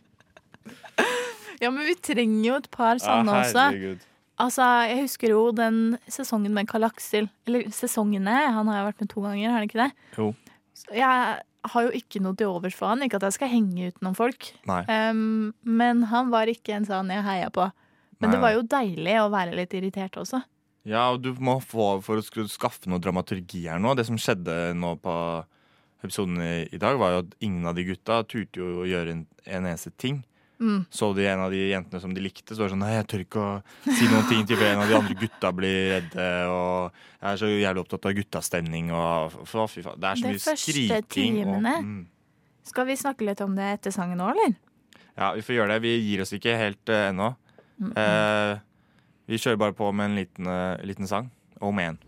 Ja, men vi trenger jo et par sånne Sånn også. Altså, Jeg husker jo den sesongen med Karl Aksel. Eller sesongene. Han har jo vært med to ganger, har han ikke det? Jo. Så jeg har jo ikke noe til overs for han. Ikke at jeg skal henge ut noen folk. Nei. Um, men han var ikke en sånn jeg heia på. Men Nei, det var jo deilig å være litt irritert også. Ja, og du må få for å skru- skaffe noe dramaturgi her nå. Det som skjedde nå på episoden i, i dag, var jo at ingen av de gutta turte jo å gjøre en, en eneste ting. Mm. Så de en av de jentene som de likte, så var det sånn Nei, jeg tør ikke å si noen ting til for en av de andre gutta blir redde, og jeg er så jævlig opptatt av guttastemning og f- f- Fy faen. Det er så De mye første skriking og timene. mm. Skal vi snakke litt om det etter sangen nå, eller? Ja, vi får gjøre det. Vi gir oss ikke helt eh, ennå. Mm. eh, vi kjører bare på med en liten, eh, liten sang. Om igjen.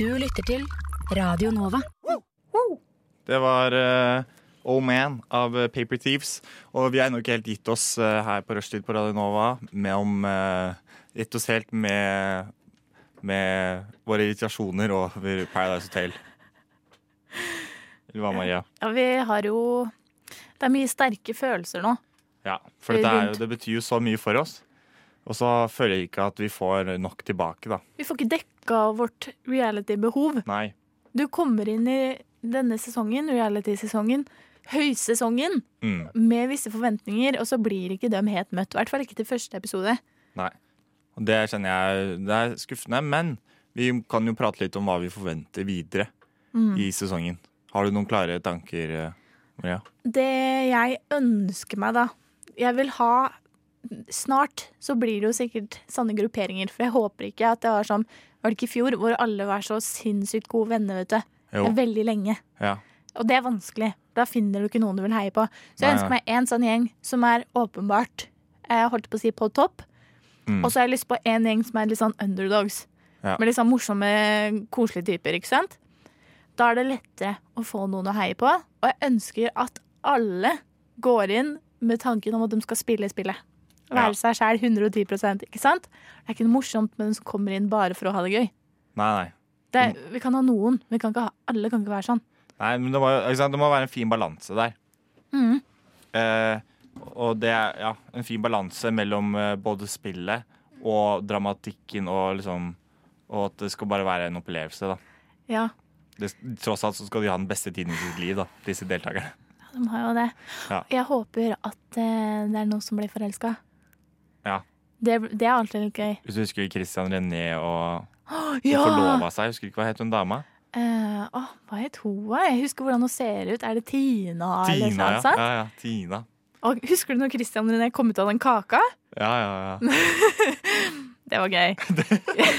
Du lytter til Radio Nova. Det var eh, Oh Man av eh, Paper Thieves. Og vi har ennå ikke helt gitt oss eh, her på Rushtid på Radio Nova med om eh, Gitt oss helt med, med våre irritasjoner over Paradise Hotel. Eller hva, Maria? Ja, vi har jo Det er mye sterke følelser nå. Ja, for dette er jo, Rundt. det betyr jo så mye for oss. Og så føler jeg ikke at vi får nok tilbake, da. Vi får ikke dekka vårt reality-behov. Nei. Du kommer inn i denne sesongen, reality-sesongen, høysesongen, Mm. med visse forventninger, og så blir ikke de helt møtt. I hvert fall ikke til første episode. Og det kjenner jeg det er skuffende, men vi kan jo prate litt om hva vi forventer videre i sesongen. Har du noen klare tanker, eh, Maria? Det jeg ønsker meg, da Jeg vil ha Snart så blir det jo sikkert sånne grupperinger, for jeg håper ikke at det var som var det ikke i fjor, hvor alle var så sinnssykt gode venner, vet du. Jo. Veldig lenge. Ja. Og det er vanskelig. Da finner du ikke noen du vil heie på. Så Nei, jeg ønsker nei. meg en sånn gjeng som er åpenbart Jeg holdt på å si på topp. Mm. Og så har jeg lyst på en gjeng som er litt sånn underdogs. Ja. Med litt sånn morsomme, koselige typer, ikke sant? Da er det lettere å få noen å heie på. Og jeg ønsker at alle går inn med tanken om at de skal spille spillet. Ja. Være seg sjæl 110 ikke sant? Det er ikke noe morsomt med dem som kommer inn bare for å ha det gøy. Nei, nei. Det, er- Mm. vi kan ha noen, men vi kan ikke ha, alle kan ikke være sånn. nei men det må, jo- ikke sant? det må være en fin balanse der. Mhm. Eh, og det er ja, en fin balanse mellom eh, både spillet og dramatikken og liksom Og at det skal bare være en opplevelse, da. Ja, Det, tross alt så skal de ha den beste tiden i sitt liv, da, disse deltakerne. De har jo det. Ja. Jeg håper at eh, det er noen som blir forelska. Ja. Det, det er alltid litt gøy. Hvis du husker Christian René og Ja! Hun forlova seg. Husker ikke hva het hun dama? Eh, åh, hva het hun? da? Jeg husker hvordan hun ser ut. Er det Tina? eller Tina, sånn, ja. sant? ja, ja. Tina. Og husker du når Christian René kom ut av den kaka? Ja, ja, ja. Det var [LAUGHS] gøy. [LAUGHS]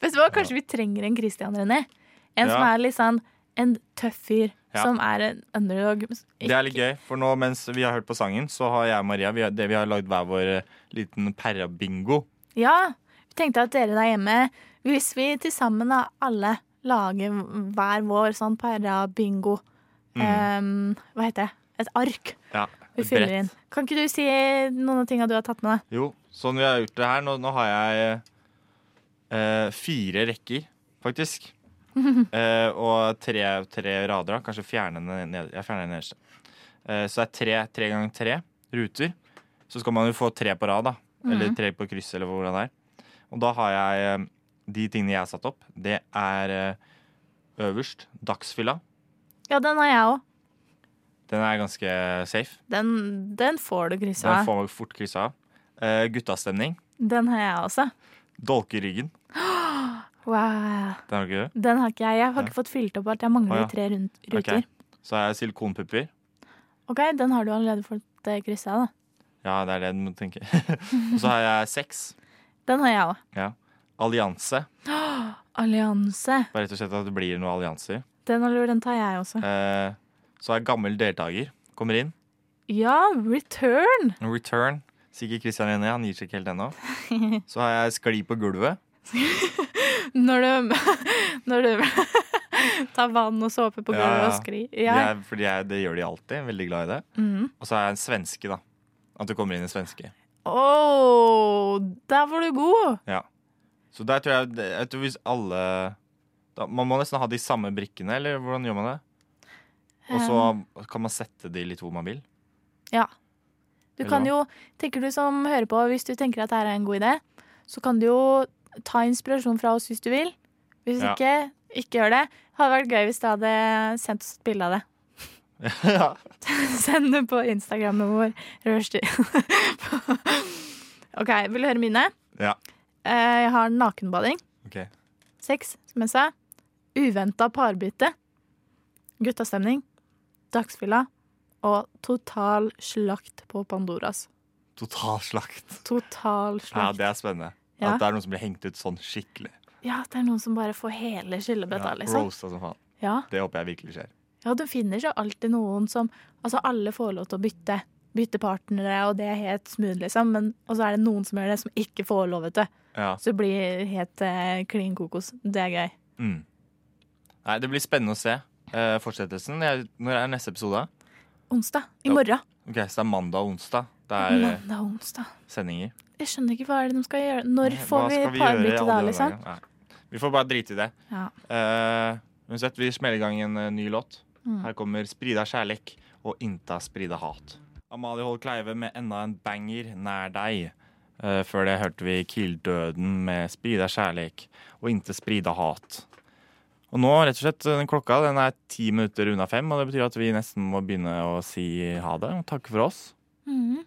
Vet du hva, Kanskje vi trenger en Christian René. En som Ja. er litt sånn en tøff fyr. Ja. Som er en underdog. Det er litt gøy, for nå mens vi har hørt på sangen, så har jeg og Maria vi har, det, vi har lagd hver vår eh, liten perra-bingo. Ja, vi tenkte at dere der hjemme Hvis vi til sammen da alle lager hver vår sånn para-bingo ehm, Hva heter det? Et ark Ja, Mm. vi et fyller brett. inn. Kan ikke du si noen av tinga du har tatt med deg? Jo, sånn vi har gjort det her. Nå, nå har jeg eh, fire rekker, faktisk. Eh, og tre, tre rader, da. Kanskje fjerne den ned- Jeg fjerner den nederste. Eh, så det er tre, tre ganger tre ruter. Så skal man jo få tre på rad, da. Eller tre på kryss, eller hvordan det er. Og da har jeg eh, de tingene jeg har satt opp. Det er eh, øverst dagsfylla. Ja, den har jeg òg. Den er ganske safe. Den, den får du kryssa Den av. får man fort kryssa av. Eh, guttastemning. Den har jeg også. Dolke i ryggen. Wow. Den har du ikke det? Den har ikke jeg. Jeg har ikke fått fylt opp alt. Jeg mangler Å, ja. tre rund- Ok. ruter. Så har jeg silikonpupper. OK, den har du allerede fått eh, kryssa av, da. Ja, det er det du må tenke. [LAUGHS] Og så har jeg sex. Den har jeg òg. Allianse. Allianse. Det er rett og slett at det blir noen allianser. Den er lur, den tar jeg også. Eh, så er jeg gammel deltaker. Kommer inn. Ja, return! Return. Sikkert Christian René. Han gir seg ikke helt ennå. Så har jeg skli på gulvet. Når du [LAUGHS] Når du [LAUGHS] tar vann og såpe på Ja, gulvet ja. og sklir. Det Ja. er, fordi jeg, det gjør de alltid. Veldig glad i det. Mhm. Og så er jeg en svenske, da. At det kommer inn en svenske. Åh, der var du god! Så der tror jeg, jeg tror hvis alle da, Man må nesten ha de samme brikkene, eller hvordan gjør man det? Og Ehm, så kan man sette de litt hvor man vil. [LAUGHS] Du kan Eller jo, tenker du som hører på, hvis du tenker at dette er en god idé, så kan du jo ta inspirasjon fra oss hvis du vil. Hvis Ja. ikke, ikke gjør det. Det hadde vært gøy hvis du hadde sendt oss et bilde av det. [LAUGHS] ja. Send det på Instagrammen vår. Rushdie. [LAUGHS] OK, vil du høre mine? Ja. Eh, Jeg har nakenbading. Ok. Sex, som jeg sa. Uventa parbytte. Guttastemning. Dagsfylla. Og total slakt på Pandoras. Totalslakt. Total Ja, slakt. det er spennende. Ja. At det er noen som blir hengt ut sånn skikkelig. Ja, det er noen som bare får hele skyllebøtta, liksom. Roasta som sånn faen. Ja. Det håper jeg virkelig skjer. ja, du finner så alltid noen som Altså, alle får lov til å bytte. Bytte partnere, og det er helt smooth, liksom. Men, og så er det noen som gjør det, som ikke får lov, vet du. Ja. Så det blir helt eh, klin kokos. Det er gøy. Mm. Nei, det blir spennende å se eh, fortsettelsen. Jeg, når er neste episode? Onsdag. I Ja. morgen. Ok, Så det er mandag og onsdag. Det er eh, Mandag og onsdag. sendinger. Jeg skjønner ikke hva er det de skal gjøre. Når Nei, hva får vi skal gjøre alle parbytte da, de liksom? dagene? Nei. Vi får bare drite i det. Ja. Eh, uansett, vi smeller i gang en eh, ny låt. Mm. Her kommer 'Sprida kjærlek' og 'Inta sprida hat'. Amalie Holt Kleive med enda en banger nær deg. Eh, før det hørte vi 'Killdøden' med 'Sprida kjærlek' og 'Inte sprida hat'. Og nå, rett og slett, den klokka den er ti minutter unna fem, og det betyr at vi nesten må begynne å si ha det og takke for oss Mhm.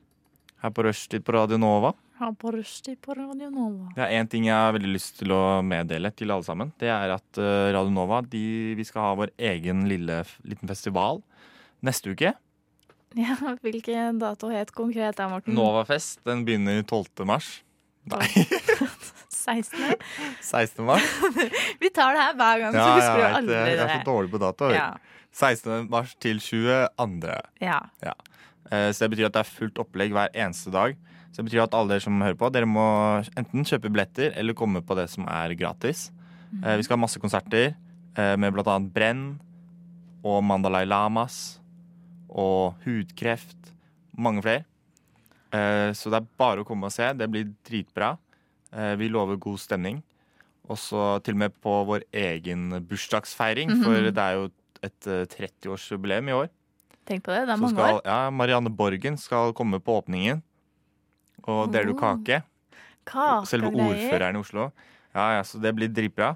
her på Rushtid på Radio Nova. Ja, på rushtid på Radio Nova. Det er én ting jeg har veldig lyst til å meddele til alle sammen. Det er at eh, Radio Nova de, vi skal ha vår egen lille f- liten festival neste uke. [LAUGHS] Ja, hvilken dato helt konkret er Morten? Novafest den begynner 12. mars. Nei, [LAUGHS] 16. 16. mars. [LAUGHS] Vi tar det her hver gang, så husker du aldri Jeg er så det. dårlig på datoer. Ja, 16. mars til 22. ja. Eh, Så det betyr at det er fullt opplegg hver eneste dag. Så det betyr at alle dere som hører på, dere må enten kjøpe billetter eller komme på det som er gratis. Eh, Vi skal ha masse konserter eh, med bl.a. Brenn og Mandalay Lamas og hudkreft. Mange flere. Eh, Så det er bare å komme og se. Det blir dritbra. Eh, Vi lover god stemning. Og så til og med på vår egen bursdagsfeiring, for det er jo et eh, 30-årsjubileum i år Tenk på det. Det er så mange skal, år. ja, Marianne Borgen skal komme på åpningen og deler du Oh, kake. Selve Kakegreier. ordføreren i Oslo. Ja, ja, så det blir dritbra.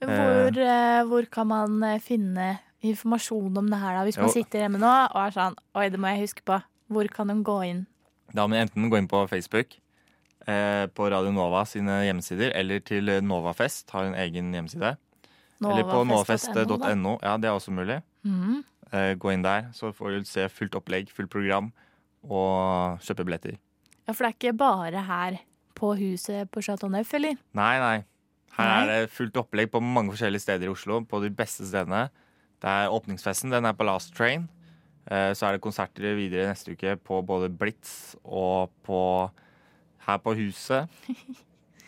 Hvor, eh, hvor kan man eh, finne informasjon om det her, da? Hvis man Jo. sitter hjemme nå og er sånn Oi, det må jeg huske på. Hvor kan de gå inn? Da må du enten gå inn på Facebook, eh, på Radio Nova sine hjemmesider, eller til Novafest, har en egen hjemmeside. eller på Novafest.no, da. novafest.no. Ja, det er også mulig. Mhm. Eh, gå inn der, så får du se fullt opplegg, fullt program, og kjøpe billetter. Ja, for det er ikke bare her på huset på Chateau Neuf, eller? Nei, nei. Her Nei. er det fullt opplegg på mange forskjellige steder i Oslo. På de beste stedene. Det er åpningsfesten. Den er på Last Train. Eh, Så er det konserter videre neste uke på både Blitz og på her på huset.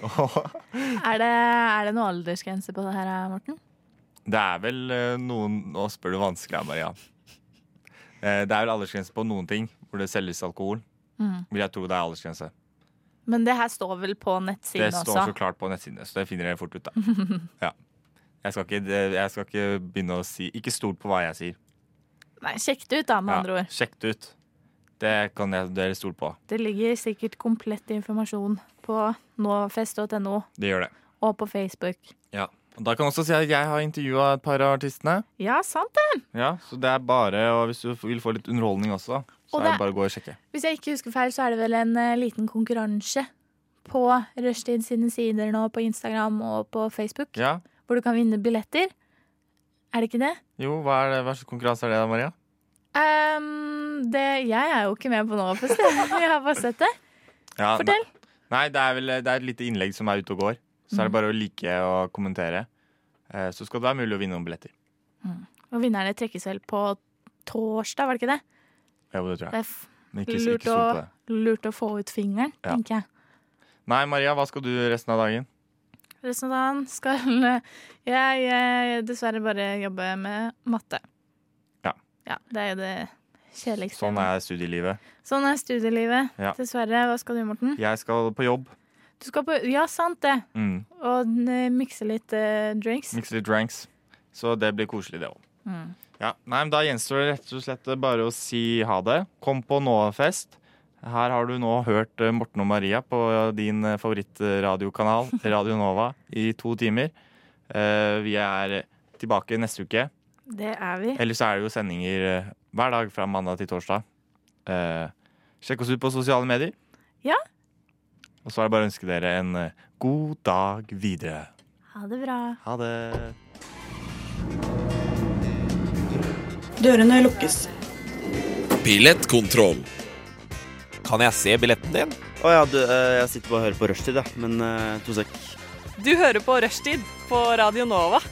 Og Er det, er det noe aldersgrense på det her, Morten? det er vel eh, noen Nå spør du vanskelig, Maria. Eh, Det er vel aldersgrense på noen ting hvor det selges alkohol. Mhm. Vil jeg tro det er aldersgrense. Men det her står vel på Det nettsiden står så også? klart på nettsidene, så det finner dere fort ut. da [LAUGHS] ja. jeg, skal ikke, jeg skal ikke begynne å si Ikke stol på hva jeg sier. Nei, Sjekk det ut, da, med andre ord. Sjekk det ut. Det kan jeg, dere stole på. Det ligger sikkert komplett informasjon på novafest.no Det gjør det. og på Facebook. Og da kan jeg også si at jeg har intervjua et par av artistene. Ja, sant det! Ja, Så det er bare, og hvis du vil få litt underholdning også, så Og er det- det bare å gå og sjekke. Hvis jeg ikke husker feil, så er det vel en eh, liten konkurranse på Rushtid sine sider nå på Instagram og på Facebook, Ja, hvor du kan vinne billetter. Er det ikke det? jo, hva er det hva slags konkurranse er det da, Maria? Ehm, det, jeg er jo ikke med på Novafest. [LAUGHS] Jeg har bare sett det. Ja, nei- Fortell. Nei, det er vel det er et lite innlegg som er ute og går. Så Mhm. er det bare å like og kommentere. Eh, Så skal det være mulig å vinne noen billetter. Og vinnerne trekkes vel på torsdag, var det ikke det? Ja, det tror Det jeg. er f- Men ikke, lurt ikke stol på å- det. lurt å få ut fingeren, Ja. tenker jeg. Nei, Maria, hva skal du resten av dagen? Resten av dagen skal [LAUGHS] eh, jeg eh, dessverre bare jobbe med matte. Ja. det er jo det kjedeligste. Sånn er studielivet. sånn er studielivet. Ja. Dessverre. Hva skal du, Morten? Jeg skal på jobb. Du skal på Ja, sant det. Mm. Og eh, mikse litt eh, drinks. Mikse litt drinks. Så det blir koselig, det òg. Mm. Ja. Nei, men da gjenstår det rett og slett bare å si ha det. Kom på Nåafest. Her har du nå hørt eh, Morten og Maria på eh, din eh, favorittradiokanal, [LAUGHS] Radio Nova, i to timer. Eh, Vi er tilbake neste uke. Det er vi. Ellers er det jo sendinger eh, hver dag fra mandag til torsdag. Eh, sjekk oss ut på sosiale medier. Ja. Og så er det bare å ønske dere en eh, god dag videre. Ha det bra. Ha det. Dørene lukkes. Billettkontroll. Kan jeg se billetten din? Å ja, du, eh, jeg sitter bare og hører på rushtid, jeg. Men eh, to sek. Du hører på Rushtid på Radio Nova.